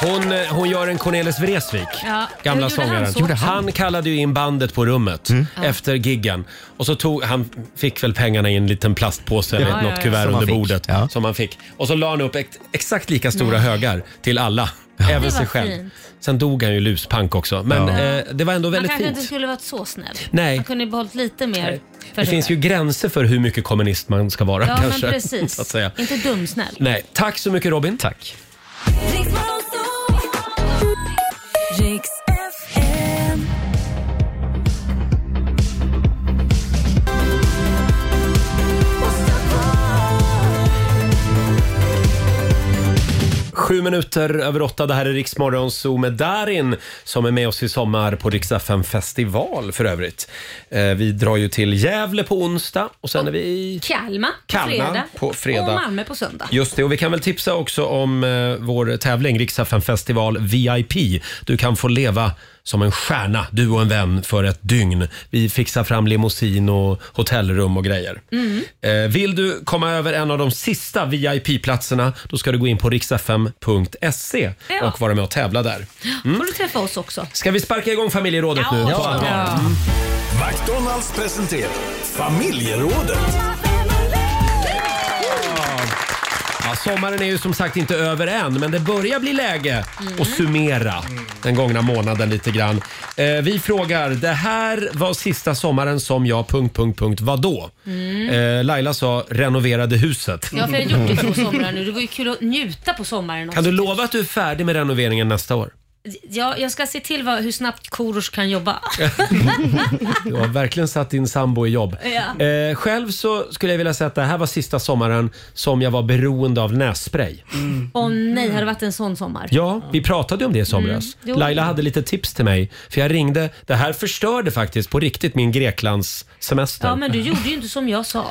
Hon, eh, hon gör en Cornelis Vreeswijk,
Ja.
gamla
Gjorde han
sångaren.
så? Gjorde han?
kallade ju in bandet på rummet
Mm.
efter giggen. Och så tog, han fick väl pengarna i en liten plastpåse eller
Ja,
ett
ja,
något
ja.
kuvert
Som han
under
fick.
bordet som han fick. Och så la han upp ex, exakt lika stora
Nej.
högar till alla, även
Det
sig
var
själv.
fint.
Sen dog han ju luspank också, men
Ja.
eh, det var ändå
Man
väldigt
kanske
fint.
inte skulle varit så snäll.
Nej.
Man kunde ju behållit lite mer. för
Det
sig
finns ju
själv.
gränser för hur mycket kommunist man ska vara
Ja,
kanske.
men precis.
Så att säga.
Inte dumsnäll.
Nej, tack så mycket Robin.
Tack.
Sju minuter över åtta, det här är Riksmorgon Zoo med Darin som är med oss i sommar på Rix FM festival för övrigt. Eh, Vi drar ju till Gävle på onsdag och sen är vi i
Kalmar på
Kalmar
fredag.
på fredag.
Och Malmö på söndag.
Just det, och vi kan väl tipsa också om eh, vår tävling Rix FM festival VIP. Du kan få leva som en stjärna, du och en vän, för ett dygn. Vi fixar fram limousin och hotellrum och grejer.
Mm.
Eh, Vill du komma över en av de sista VIP-platserna då ska du gå in på riksfm.se
Ja.
E och vara med och tävla där.
får du träffa oss också.
Ska vi sparka igång familjerådet nu?
Ja.
På allvar?
Ja.
Mm.
McDonalds presenterar Familjerådet.
Ja, sommaren är ju som sagt inte över än, men det börjar bli läge att summera den gångna månaden lite grann. Eh, vi frågar, det här var sista sommaren som jag... Punkt, punkt, punkt, vadå?
Mm.
Eh, Laila sa renoverade huset.
Ja, för jag har gjort det två somrar nu. Det var ju kul att njuta på sommaren också.
Kan du lova att du är färdig med renoveringen nästa år?
Ja, jag ska se till vad, hur snabbt Korosh kan jobba.
Du har verkligen satt din sambo i jobb.
Ja.
Eh, själv så skulle jag vilja säga att det här var sista sommaren som jag var beroende av nässpray.
Åh nej, har det varit en sån sommar?
Ja, vi pratade ju om det i somras.
Mm. Mm, jo.
Laila hade lite tips till mig. För jag ringde. Det här förstörde faktiskt på riktigt min Greklands semester.
Ja, men du gjorde ju inte som jag sa.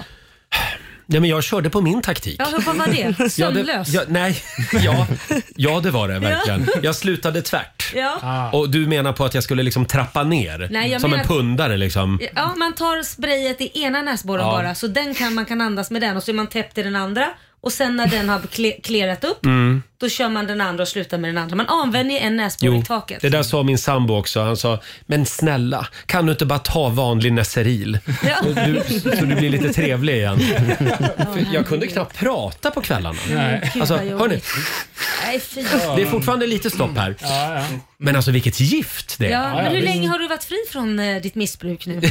ja, men jag körde på min taktik.
Ja, hur- vad var det?
Ja,
Sömnlös?
ja, nej, ja, ja, det var det verkligen.
Ja.
Jag slutade tvärt.
Ja.
Och du menar på att jag skulle liksom trappa ner?
Nej, jag
som
menar
en
att-
pundare liksom?
Ja, man tar sprayet i ena näsborren
Ja.
bara, så den kan, man kan andas med den och så är man täppt i den andra. Och sen när den har kle- klerat upp,
Mm.
då kör man den andra och slutar med den andra. Man använder ju en näsborre i taket.
det där sa min sambo också. Han sa, men snälla, kan du inte bara ta vanlig Neseril?
Ja.
Så, du, så du blir lite trevlig igen. För jag kunde knappt prata på kvällarna.
Nej.
Alltså,
Gud, vad
hörni,
jobbigt. Nej, fy.
det är fortfarande lite stopp här. Men alltså vilket gift det är.
Ja, men hur länge har du varit fri från eh, ditt missbruk nu?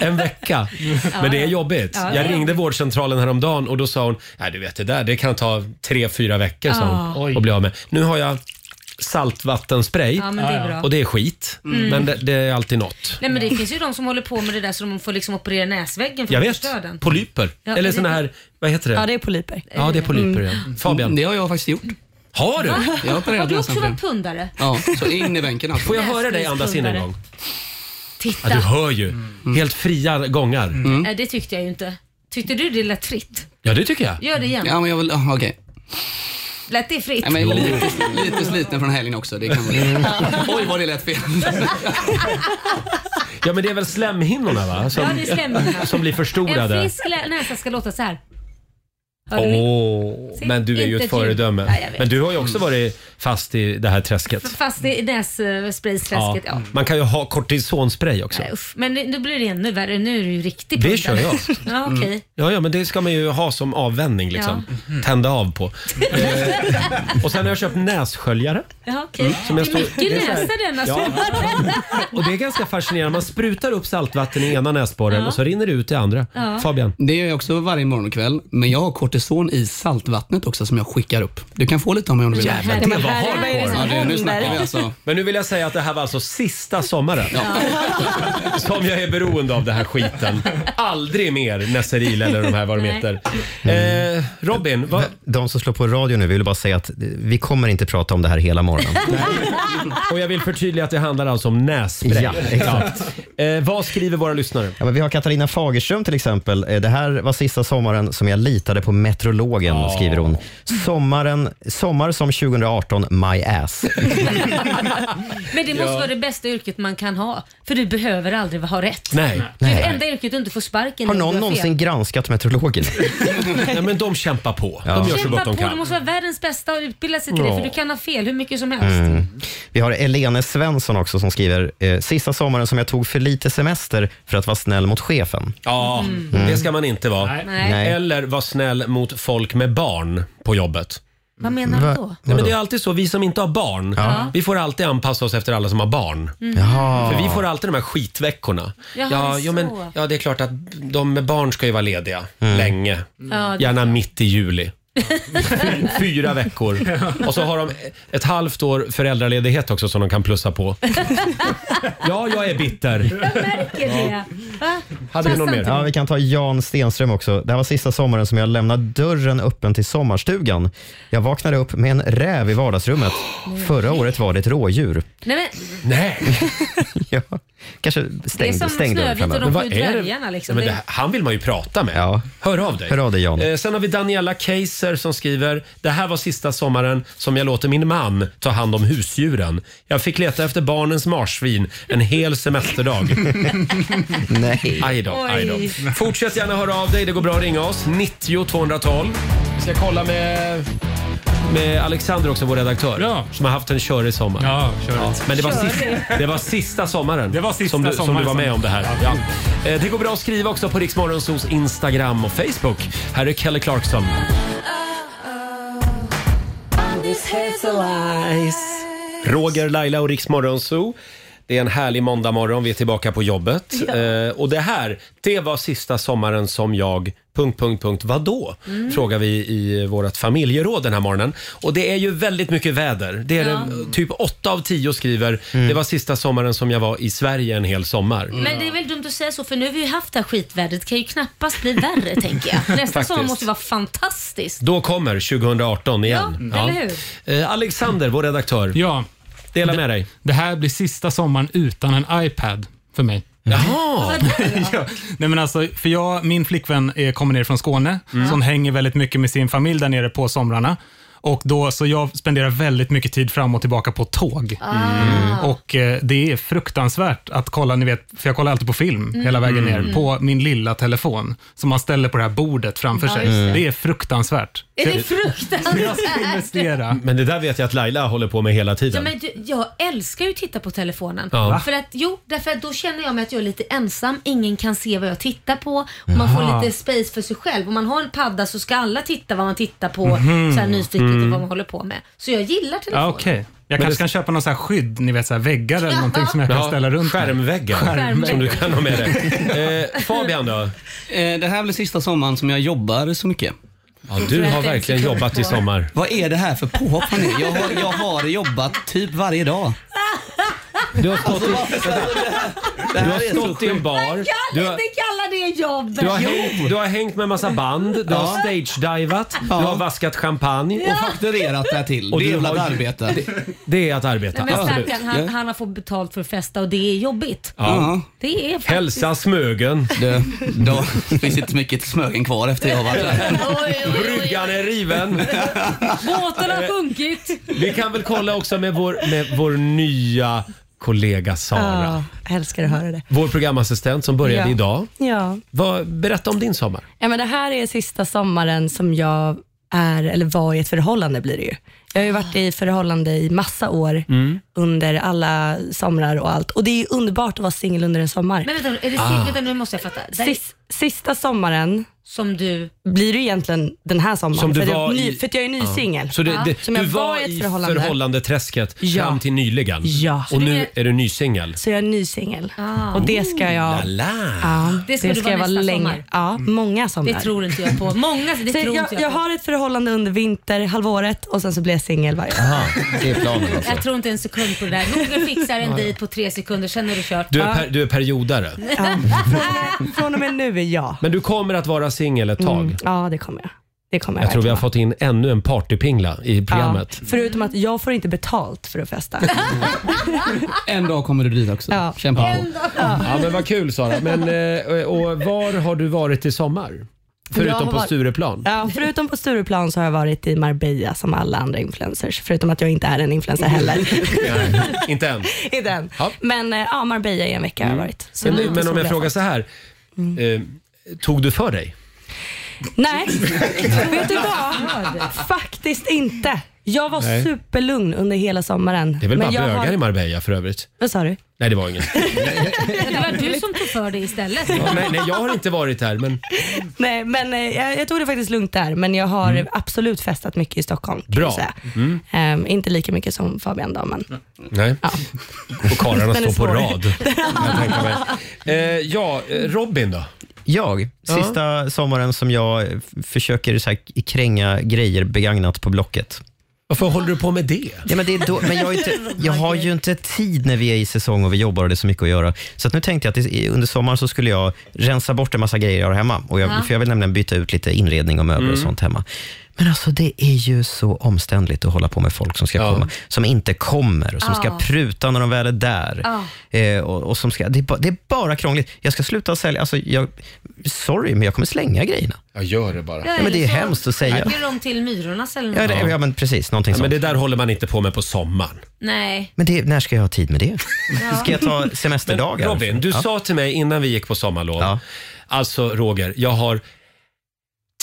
En vecka. Men det är jobbigt.
Ja, det är
Jag ringde vårdcentralen häromdagen och då sa hon, nej du vet det där, det kan ta tre, fyra veckor sa
Ja.
hon,
Oj.
att bli av med. Nu har jag saltvattenspray
Ja, men det är bra.
och det är skit.
Mm.
Men det, det är alltid något.
Nej men det finns ju de som håller på med det där så de får liksom operera näsväggen för
Jag
att
vet.
förstöra den.
Polyper.
Ja,
Eller
det-
såna här, vad heter det?
Ja, det är
polyper.
Ja, det är polyper ja. Fabian?
Det har jag faktiskt gjort.
Har du?
Va?
Jag har
Har
opererat
du också
näsan
varit pundare?
Ja, så in i bänken alltså.
Får jag höra dig andas in en gång?
Titta.
Ja, Mm. du hör ju.
Mm.
Helt fria gångar.
Nej, det tyckte jag ju inte. Tyckte du det lät fritt?
Ja, det tycker jag.
Gör det igen.
Ja, men jag vill... aha, Okej.
Lät det fritt?
Nej, men jag är lite, lite sliten från helgen också. Det kan
Mm.
vara... Oj, vad det lät fel.
Ja, men det är väl slemhinnorna va? Som,
Ja, det är slemhinnorna.
som blir
En
förstorade.
frisk lä- näsa ska låta så här.
Åh, men du är ju
Inte
ett
ljud.
föredöme.
Ja, jag vet. Mm.
men du har ju också varit fast i det här träsket.
Fast i eh, nässprayträsket, ja.
Man kan ju ha kortisonspray också.
Nej, uff. Men nu- nu blir det ännu värre. Nu är det ju riktigt
Det kör jag.
ja, okej.
Mm. Ja, ja, men det ska man ju ha som avvändning liksom.
Mm-hmm.
Tända av på. Eh, och sen har jag köpt nässköljare.
Ja, okej.
Mm, som jag
det är
står- det är
mycket
så här-
näsa denna
Ja.
sommar.
Och det är ganska fascinerande. Man sprutar upp saltvatten i ena näsborren
Ja.
och så rinner det ut i andra.
Ja.
Fabian?
Det gör jag också varje morgon och kväll. Men jag har kortison i saltvattnet också som jag skickar upp. Du kan få lite av mig om du vill.
Jävlar, det var hardcore.
Ja, du, nu snackar vi alltså.
Men nu vill jag säga att det här var alltså sista sommaren som jag är beroende av den här skiten. Aldrig mer Nesseril eller de här vad de
Nej.
heter. Eh, Robin, vad...
De som slår på radio nu vill bara säga att eh, vi kommer inte prata om det här hela morgonen.
Och jag vill förtydliga att det handlar alltså om nässpray.
Ja, exakt.
Eh, vad skriver våra lyssnare?
Ja, men vi har Katarina Fagerström till exempel. Eh, Det här var sista sommaren som jag litade på meteorologen, skriver hon. Sommaren, sommar som 2018, my ass.
Men det måste
Ja.
vara det bästa yrket man kan ha. För du behöver aldrig ha rätt.
Nej.
Det är det
Nej.
enda yrket du inte får sparken
Har
i om du
någon
fel.
någonsin granskat meteorologen?
Nej, men de kämpar på.
Ja.
De gör så
Kämpa
gott de
på, du
kan.
måste vara världens bästa och utbilda sig till det
Ja.
för du kan ha fel hur mycket som helst.
Mm. Vi har Elene Svensson också som skriver, eh, sista sommaren som jag tog för lite semester för att vara snäll mot chefen.
Ja,
Mm.
det ska man inte vara.
Nej. Nej.
Eller var snäll mot folk med barn på jobbet.
Vad menar du då?
Nej, men det är alltid så, vi som inte har barn,
Ja.
vi får alltid anpassa oss efter alla som har barn.
Mhm. Jaha.
För vi får alltid de här skitveckorna.
Jaha, det
ja,
är
jo, men,
så. Mm.
ja, det är klart att de med barn ska ju vara lediga länge.
Ja, det-
Gärna mitt i juli. Fy- Fyra veckor. Och så har de ett halvt år föräldraledighet också som de kan plussa på. Ja, jag är bitter.
Jag märker det. Va?
Hade vi någon mer?
Ja, vi kan ta Jan Stenström också. Det här var sista sommaren som jag lämnade dörren öppen till sommarstugan. Jag vaknade upp med en räv i vardagsrummet. Förra året var det ett rådjur.
Nej, men,
Nej!
ja. Kanske stäng,
som
stäng dörren
Snövit och de
framöver.
sju dvärgarna, liksom.
Nej, men
Det-
det, han vill man ju prata med. Hör av dig.
Hör av dig, Jan.
Eh, sen har vi Daniela Keiser som skriver “Det här var sista sommaren som jag låter min man ta hand om husdjuren. Jag fick leta efter barnens marsvin en hel semesterdag.”
Nej.
Aj då, aj då.
Oj.
Fortsätt gärna höra av dig. Det går bra att ringa oss. 90 212. Vi ska kolla med... Med Alexander också, vår redaktör, som har haft en körig sommar. Ja, men det var,
Körig.
sista, det var sista sommaren
Det var sista
som, du, som du
sommaren
var med
som-
om det här.
Ja.
Ja. Eh, Det går bra att skriva också på Riksmorgonsos Instagram och Facebook. Här är Kelly Clarkson. Roger, Laila och Riksmorgonso. Det är en härlig måndagmorgon. Vi är tillbaka på jobbet. Eh, och det här, det var sista sommaren som jag... Punkt, punkt, punkt. Vadå?
Mm.
Frågar vi i vårt familjeråd den här morgonen. Och det är ju väldigt mycket väder. Det är
Ja.
det, typ åtta av tio skriver det var sista sommaren som jag var i Sverige en hel sommar.
men det är väl dumt att säga så för nu har vi ju haft det här skitvädret. Det kan ju knappast bli värre tänker jag. Nästa
Faktiskt.
sommar måste ju vara fantastiskt.
Då kommer 2018 igen.
Ja, eller
hur? Eh, Alexander, vår redaktör.
Ja.
Dela med dig.
Det här blir sista sommaren utan en iPad för mig.
Jaha!
ja. Nej, men alltså, för jag, min flickvän är, kommer ner från Skåne,
Mm.
så hon hänger väldigt mycket med sin familj där nere på somrarna. Och då, så jag spenderar väldigt mycket tid fram och tillbaka på tåg.
Ah.
Och eh, det är fruktansvärt att kolla, ni vet, för jag kollar alltid på film
Mm.
hela vägen
Mm.
ner, på min lilla telefon som man ställer på det här bordet framför
Ja,
sig.
just det.
Det är fruktansvärt.
Är det
fruktansvärt?
Men det där vet jag att Laila håller på med hela
Ja,
tiden.
men du, jag älskar ju att titta på telefonen.
Ja. Va?
För att, jo, därför att då känner jag mig att jag är lite ensam. Ingen kan se vad jag tittar på. Och man
Jaha.
får lite space för sig själv. Om man har en padda så ska alla titta vad man tittar på.
Mhm.
Så här nyfiket och
Mm.
vad man håller på med. Så jag gillar telefonen.
Ja, okej. Jag kanske kan köpa någon så här skydd, ni vet så här väggar eller någonting som jag kan
Ja,
ställa runt.
Skärmväggar,
Skärmväggar.
som du kan ha med dig. Eh, Fabian då?
Eh, Det här blir sista sommaren som jag jobbar så mycket.
Ja, du har verkligen jobbat i sommar.
Vad är det här för påhopp nu? Jag har, jag har jobbat typ varje dag. Alltså,
Du har stått i,
det
du
här
har
är så
stått i en bar. Du har,
kalla det jobb.
du, har hängt, du har hängt med massa band, du har
Ja.
stagedivat, du
Ja.
har vaskat champagne.
Och fakturerat därtill. Det är väl att arbeta.
Det, det är att arbeta,
Nej, men
absolut.
stackarn, han, han har fått betalt för att festa och det är jobbigt.
Ja.
Det är faktiskt...
Hälsa Smögen.
Det, då finns inte mycket Smögen kvar efter jag har varit där.
Bryggan är riven.
Båten har sjunkit.
Vi kan väl kolla också med vår, med vår nya kollega Sara.
Ja, jag älskar att höra det.
Vår programassistent som började
Ja.
idag.
Ja.
Vad, berätta om din sommar.
ja, men det här är sista sommaren som jag är, eller var i ett förhållande blir det ju. Jag har ju varit i förhållande i massa år under alla somrar och allt. Och det är ju underbart att vara singel under en sommar.
Men vänta, är det
Ah.
vänta, nu måste jag fatta. Det här är-
Sis, sista sommaren
som du
blir du egentligen den här sommaren.
Som du
för, att jag-
var
ny,
i-
för att jag är ny
Ja.
singel.
Så det, det,
Som jag
du var, i förhållandeträsket
Ja.
fram till nyligen.
Ja.
Och nu är du nysingel.
Så jag är ny singel. Och det ska jag...
La Mm. la.
Ja,
Ah. Det ska du vara
jag
nästa
länge.
sommar.
Ja, många somrar.
Det tror inte jag på. Många- det
Så
tror
jag,
inte jag
jag
på.
har ett förhållande under vinterhalvåret och sen så blir jag singel varje år.
det är planen
Jag tror inte en sekund på det där. Någon fixar en dejt på tre sekunder, sen är du kört.
Du är, per, du är periodare.
Äh, Från och med nu är jag.
Men du kommer att vara singel ett tag.
Mm, ja, det kommer jag. Det kommer jag,
Jag tror vi har
verkligen
fått in ännu en partypingla i programmet.
vara. Förutom att jag får inte betalt för att festa.
En dag kommer du dit också. Kämpa på.
Ja, men vad kul Sara. Men, eh, och var har du varit i sommar?
Jag
Förutom
har
på
varit-
Stureplan.
Ja, förutom på Stureplan så har jag varit i Marbella som alla andra influencers. Förutom att jag inte är en influencer heller.
Nej, inte än.
I den. Men eh, ja, Marbella i en vecka har jag varit. Så
Mm.
lite
Men, men om
sol
jag
har
frågar
fått.
så här. Eh,
Mm.
tog du för dig?
Nej, vet du vad? Faktiskt inte. Jag var
Nej.
superlugn under hela sommaren.
Det är väl
Men
bara
jag
bögar
har-
i Marbella för övrigt?
Vad sa du?
Nej, det var inget.
Det var du som tog för dig istället.
Ja, nej, nej, jag har inte varit där, men
Nej, men eh, jag, jag tog det faktiskt lugnt där, men jag har absolut festat mycket i Stockholm. kan jag
Mm. bra.
säga.
Mm.
Ehm, inte lika mycket som Fabian då, men
Nej. Och karlarna
Den är
står på
svår.
rad. kan jag tänka mig. Eh, ja, eh, Robin då?
Jag? Sista sommaren som jag f- försöker så här, kränga grejer begagnat på Blocket.
Varför håller du på med det?
Ja, men det är då, men jag, är inte, jag har ju inte tid när vi är i säsong och vi jobbar och det är så mycket att göra. Så att nu tänkte jag att i- under sommaren så skulle jag rensa bort en massa grejer jag har hemma. Och jag,
Ja.
För jag vill nämligen byta ut lite inredning och möbler och
Mm.
sånt hemma. Men alltså det är ju så omständligt att hålla på med folk som ska komma, som inte kommer och som
Ja.
ska pruta när de väl är där.
Ja.
Eh, och, och som ska, det, är ba, det är bara krångligt. Jag ska sluta sälja. Alltså, jag, sorry, men jag kommer slänga grejerna.
Jag gör det bara.
Ja, men det är hemskt att säga.
Lägger dem till Myrornas eller
Ja,
något?
det, ja men precis. Någonting
Ja, men
sånt.
det där håller man inte på med på sommaren.
Nej.
Men det, när ska jag ha tid med det?
Ja.
Ska jag ta semesterdagar?
Men Robin, du
Ja.
sa till mig innan vi gick på sommarlov. Alltså Roger, jag har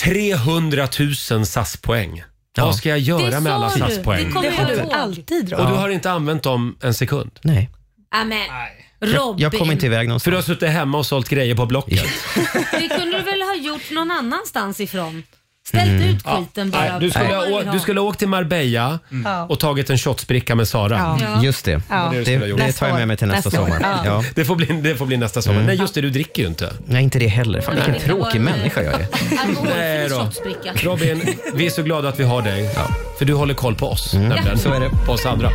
300 000 SAS-poäng. Vad ska jag göra med alla SAS-poäng?
Det har du
ihåg.
alltid
Och du
Robin.
har inte använt dem en sekund?
Nej.
Amen. Robin,
iväg någonstans.
För du har suttit hemma och sålt grejer på Blocket.
det kunde du väl ha gjort någon annanstans ifrån? Ställt ut skiten
Mm. Ja.
bara.
Nej, Du skulle, ha,
Kom
å-
idag.
du skulle ha åkt till Marbella
Ja.
och tagit en shotsbricka med Sara.
Ja.
Just det.
var du
Det,
skulle ha
det,
gjort.
tar jag med mig till nästa, sommar. Ja.
Det, får bli, det får bli nästa sommar. Nej, just det, du dricker ju inte.
Nej, inte det heller. Fan, vilken
Nej.
tråkig människa jag är.
Nej då.
shotsbricka.
Robin, vi är så glada att vi har dig. För du håller koll på oss. nämligen.
Ja. Mm. Så är det.
På oss andra.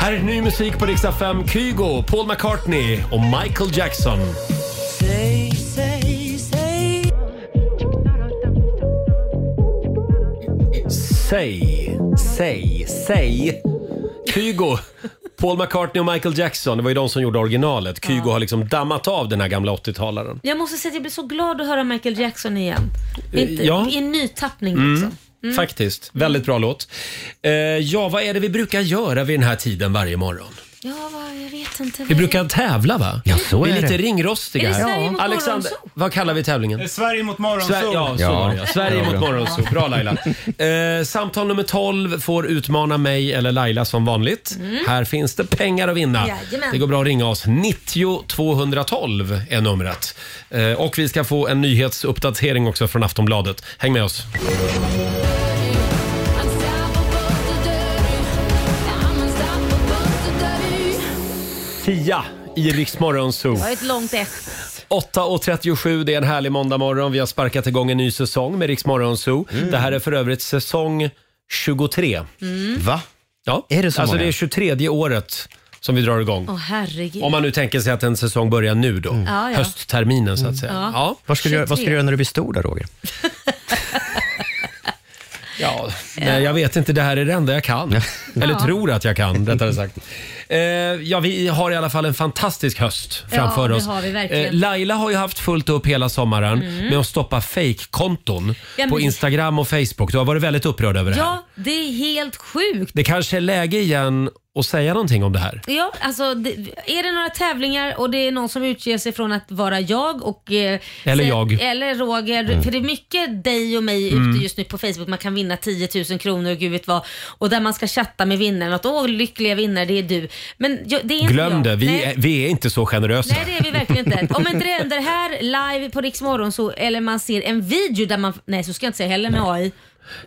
Här är ny musik på riksdag 5. Kygo, Paul McCartney och Michael Jackson.
Säg, säg, säg.
Säg, säg, säg. Kygo, Paul McCartney och Michael Jackson. Det var ju de som gjorde originalet. Kygo har liksom dammat av den här gamla 80-talaren.
Jag måste säga att jag blir så glad att höra Michael Jackson igen. Inte,
Eh, ja.
I en ny tappning
Mm.
liksom. Mm.
Faktiskt. Väldigt bra låt. Eh, ja, vad är det vi brukar göra vid den här tiden varje morgon?
Ja, vad- jag vet inte.
Vi brukar tävla va? Ja,
så
vi är
är
lite
det.
ringrostiga.
Är det Sverige mot
Alexander,
morgonsol?
vad kallar vi tävlingen?
Sverige mot
Sver-
morgonsol.
ja, så var det, ja. Sverige
Ja,
mot
bra.
morgonsol. Bra Laila. Eh, samtal nummer 12 får utmana mig eller Laila som vanligt.
Mm.
Här finns det pengar att vinna.
Jajamän.
Det går bra att ringa oss. 90 212 är numret. Eh, och vi ska få en nyhetsuppdatering också från Aftonbladet. Häng med oss. Sia i Rix Morgonzoo.
Det var ett långt F.
8.37, det är en härlig måndagmorgon. Vi har sparkat igång en ny säsong med Rix Morgonzoo. Det här är för övrigt säsong 23.
Mm.
Va?
Ja.
Är det så
alltså
många?
det är 23 året som vi drar igång.
Åh herregud.
Om man nu tänker sig att en säsong börjar nu då.
Ja, ja.
Höstterminen så att säga.
Ja.
Ja.
Vad, ska du, göra- vad ska du göra när du blir stor då, Roger?
Ja, nej, jag vet inte. Det här är det enda jag kan. Eller
Ja.
tror att jag kan, rättare sagt. Eh, ja, vi har i alla fall en fantastisk höst
Ja,
framför
det
oss. Eh,
har vi verkligen.
Laila har ju haft fullt upp hela sommaren
Mm.
med att stoppa fake-konton
men-
på Instagram och Facebook. Du har varit väldigt upprörd över det här.
Ja, det är helt sjukt.
Det kanske är läge igen och säga någonting om det här?
Ja, alltså det, är det några tävlingar och det är någon som utger sig från att vara jag och... eh,
Eller
sä-
jag.
Eller Roger.
Mm.
För det är mycket dig och mig
Mm.
ute just nu på Facebook. Man kan vinna 10 000 kronor och gud vet vad. Och där man ska chatta med vinnaren. Att åh, lyckliga vinnare, det är du. Men jag, det är inte
Glöm
jag.
det, vi
Nej.
är, vi är inte så generösa.
Nej, det är vi verkligen inte. Om inte det händer här live på Rix Morgon så eller man ser en video där man... Nej, så ska jag inte säga heller med AI.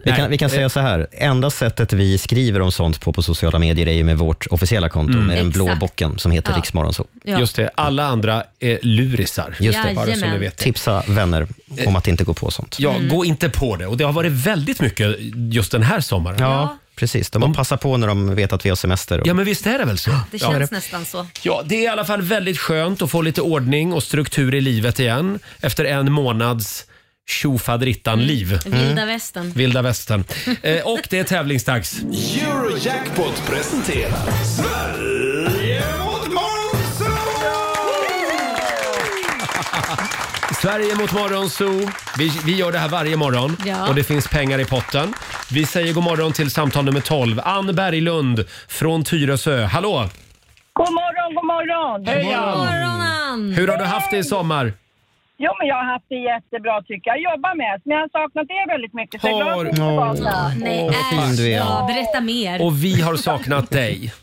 Vi kan, vi kan säga så här, enda sättet vi skriver om sånt på, på sociala medier är ju med vårt officiella konto,
Mm.
med den blå
Exakt.
bocken som heter
Ja.
ja. Riksmorgonso.
Ja.
Just det, alla andra är lurisar.
Just det,
bara så ni vet.
Tipsa vänner om att inte gå på sånt.
Ja, gå inte på det. Och det har varit väldigt mycket just den här sommaren.
Ja, precis. De, de passar på när de vet att vi har semester.
Mm.
Och...
Ja, men visst är det väl så?
Det
Ja.
känns nästan så.
Ja, det är i alla fall väldigt skönt att få lite ordning och struktur i livet igen efter en månads
Mm.
tjofaderittan-liv.
Vilda västern.
Vilda västern. Eh, och det är tävlingsdags.
Eurojackpot presenterar Sverige mot
Sverige mot Morgonzoo. Vi, vi gör det här varje morgon
Ja.
och det finns pengar i potten. Vi säger god morgon till samtal nummer 12. Ann Berglund från Tyresö. Hallå!
God morgon, god morgon!
Hej, God morgon. Hur har du haft det i sommar?
Jo, men jag har haft det jättebra tycker jag. Jag jobbar med men jag har saknat er väldigt mycket. Så jag är glad att ni är tillbaka.
Har- Nej, Åh, vad fin äsch, du är. ja,
berätta mer.
Och vi har saknat dig.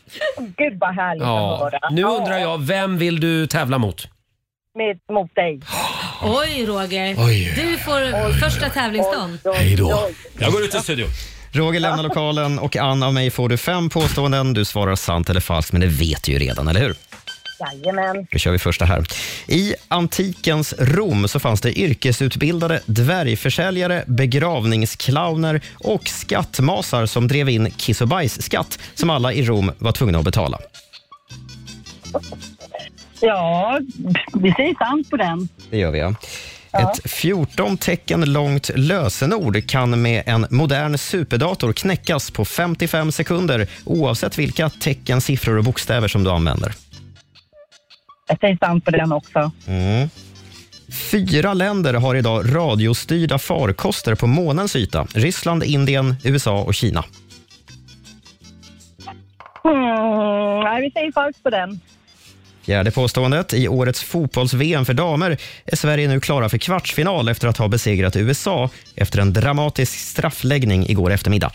Gud vad härligt att
Ja.
höra.
Nu undrar jag, vem vill du tävla mot?
Med, mot dig.
Oj, Roger.
Oj.
Du får första tävlingsdagen.
Hej då. Jag går ut i studion.
Roger lämnar lokalen och Ann av mig får du fem påståenden. Du svarar sant eller falskt, men det vet du ju redan, eller hur?
Jajamän.
Då kör vi första här. I antikens Rom så fanns det yrkesutbildade dvärgförsäljare, begravningsclowner och skattmasar som drev in kiss och bajsskatt som alla i Rom var tvungna att betala.
Ja, vi säger sant på den.
Det gör vi, ja. Ett 14 tecken långt lösenord kan med en modern superdator knäckas på 55 sekunder oavsett vilka tecken, siffror och bokstäver som du använder.
Jag säger sant på den också.
Mm. Fyra länder har idag radiostyrda farkoster på månens yta. Ryssland, Indien, USA och Kina.
Hmm, nej, vi säger falskt på den.
Fjärde påståendet. I årets fotbolls-VM för damer är Sverige nu klara för kvartsfinal efter att ha besegrat USA efter en dramatisk straffläggning igår eftermiddag.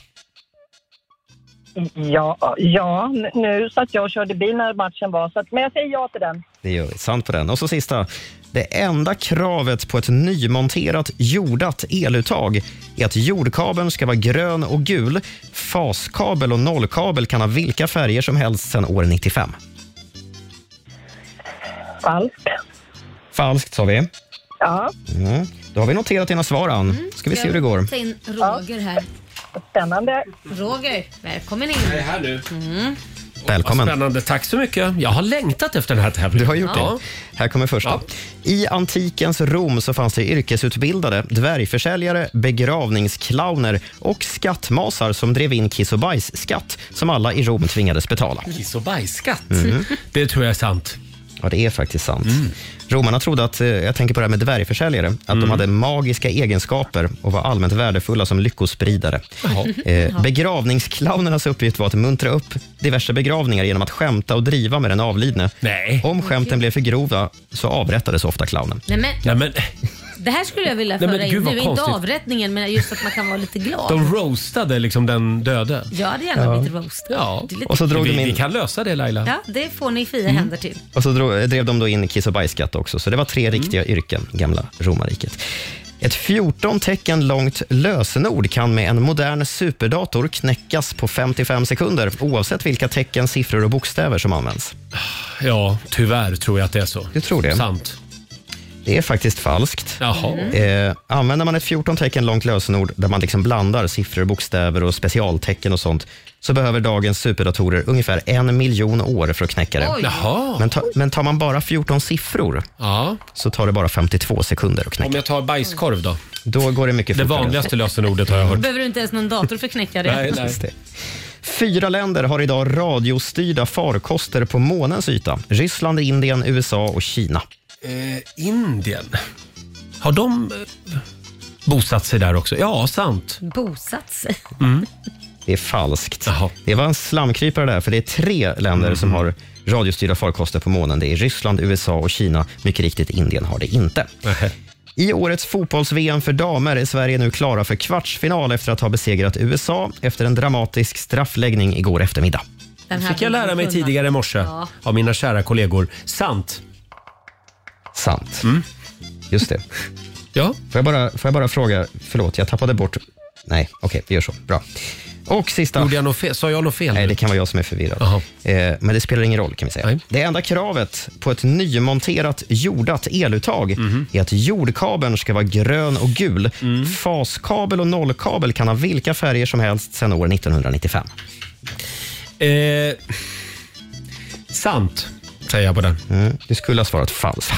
Ja, ja, n- nu satt jag och körde bil när matchen var, så att, men jag säger ja till den.
Det gör vi. Sant på den. Och så sista. Det enda kravet på ett nymonterat jordat eluttag är att jordkabeln ska vara grön och gul. Faskabel och nollkabel kan ha vilka färger som helst sedan år 95.
Falskt.
Falskt, sa vi.
Ja. Mm.
Mm. Då har vi noterat dina svar, Ann. Ska vi se hur det går.
Ta in Roger här.
Spännande.
Roger, välkommen in.
Jag är här nu.
Mm.
Välkommen.
Spännande. Tack så mycket. Jag har längtat efter den här tävlingen.
Du har gjort
Ja.
det. Här kommer första. I antikens Rom så fanns det yrkesutbildade, dvärgförsäljare, begravningsclowner och skattmasar som drev in kiss och bajsskatt som alla i Rom tvingades betala.
Kiss och bajsskatt.
Mm.
Det tror jag är sant.
Ja, det är faktiskt sant. Romarna trodde att, eh, jag tänker på det här med dvärgförsäljare, att de hade magiska egenskaper och var allmänt värdefulla som lyckospridare. Eh, begravningsclownernas uppgift var att muntra upp diverse begravningar genom att skämta och driva med den avlidne. Om skämten blev för grova så avrättades ofta clownen.
Nej, men,
Nej, men,
det här skulle jag vilja
Nej, men
föra in.
gud,
Nu
vad
är inte
konstigt.
avrättningen, men just att man kan vara lite glad.
de roastade liksom den döde.
Jag hade gärna
Ja.
blivit roastad.
Ja.
Det är lite-
Och så drog
vi,
de in-
vi kan lösa det Laila.
ja, det får ni fria
Mm.
händer till.
Och så dro- drev de då in kiss och bajsskatt också, så det var tre riktiga yrken, gamla romarriket. Ett 14 tecken långt lösenord kan med en modern superdator knäckas på 55 sekunder, oavsett vilka tecken, siffror och bokstäver som används.
Ja, tyvärr tror jag att det är så.
Du tror det?
Sant.
Det är faktiskt falskt.
Jaha.
Eh, använder man ett 14 tecken långt lösenord där man liksom blandar siffror, bokstäver och specialtecken och sånt, så behöver dagens superdatorer ungefär en miljon år för att knäcka det.
Oj. Jaha.
Men, ta, men tar man bara 14 siffror, så tar det bara 52 sekunder att knäcka.
Om jag tar bajskorv då?
Då går det mycket
Det
fortare.
vanligaste lösenordet har jag hört.
Behöver du inte ens någon dator för att knäcka det?
Just det. Fyra länder har idag radiostyrda farkoster på månens yta. Ryssland, Indien, USA och Kina.
Eh, Indien. Har de eh, bosatt sig där också? Ja, sant.
Bosatt sig.
Mm.
Det är falskt. Det var en slamkrypare där, för det är tre länder som har radiostyrda farkoster på månen. Det är Ryssland, USA och Kina. Mycket riktigt, Indien har det inte. I årets fotbolls-VM för damer är Sverige nu klara för kvartsfinal efter att ha besegrat USA efter en dramatisk straffläggning igår eftermiddag.
Den här
fick jag lära mig
borde kunna.
tidigare i morse
Ja.
av mina kära kollegor. Sant.
Sant. Just det. ja. får, jag bara, får jag bara fråga, förlåt, jag tappade bort... Nej, okej, vi gör så. Bra. Och sista... Gjorde
jag fel? Sa jag något fel?
Nej, det kan vara jag som är förvirrad. Eh, men det spelar ingen roll kan vi säga. Det enda kravet på ett nymonterat jordat eluttag
Mhm.
är att jordkabeln ska vara grön och gul.
Mm.
Faskabel och nollkabel kan ha vilka färger som helst sedan år 1995.
Eh, sant, säger jag på den.
Mm, du skulle ha svarat falskt.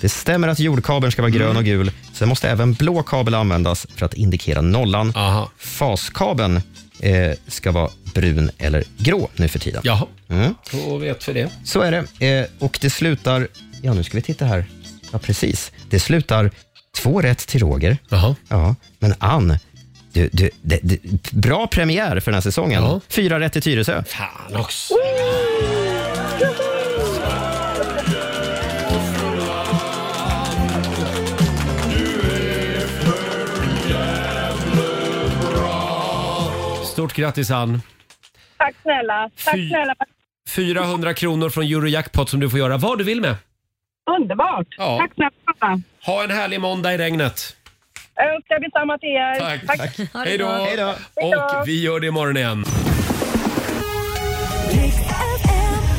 Det stämmer att jordkabeln ska vara
Mm.
grön och gul. Sen måste även blå kabel användas för att indikera nollan. Faskabeln eh, ska vara brun eller grå nu för tiden.
Jaha.
Mm.
Då vet vi det.
Så är det. Eh, och det slutar... Ja, nu ska vi titta här. Ja, precis. Det slutar två rätt till Roger. Ja, men Ann, du, du, det, det, bra premiär för den här säsongen. Fyra rätt till Tyresö.
Fan också. Stort grattis Ann.
Tack snälla. Tack
Fy-
snälla.
400 kronor från Eurojackpot som du får göra vad du vill med.
Underbart. Tack snälla.
Ha en härlig måndag i regnet.
Jag önskar detsamma till er.
Tack.
Ha det
Hej då.
bra.
Och vi gör det imorgon igen.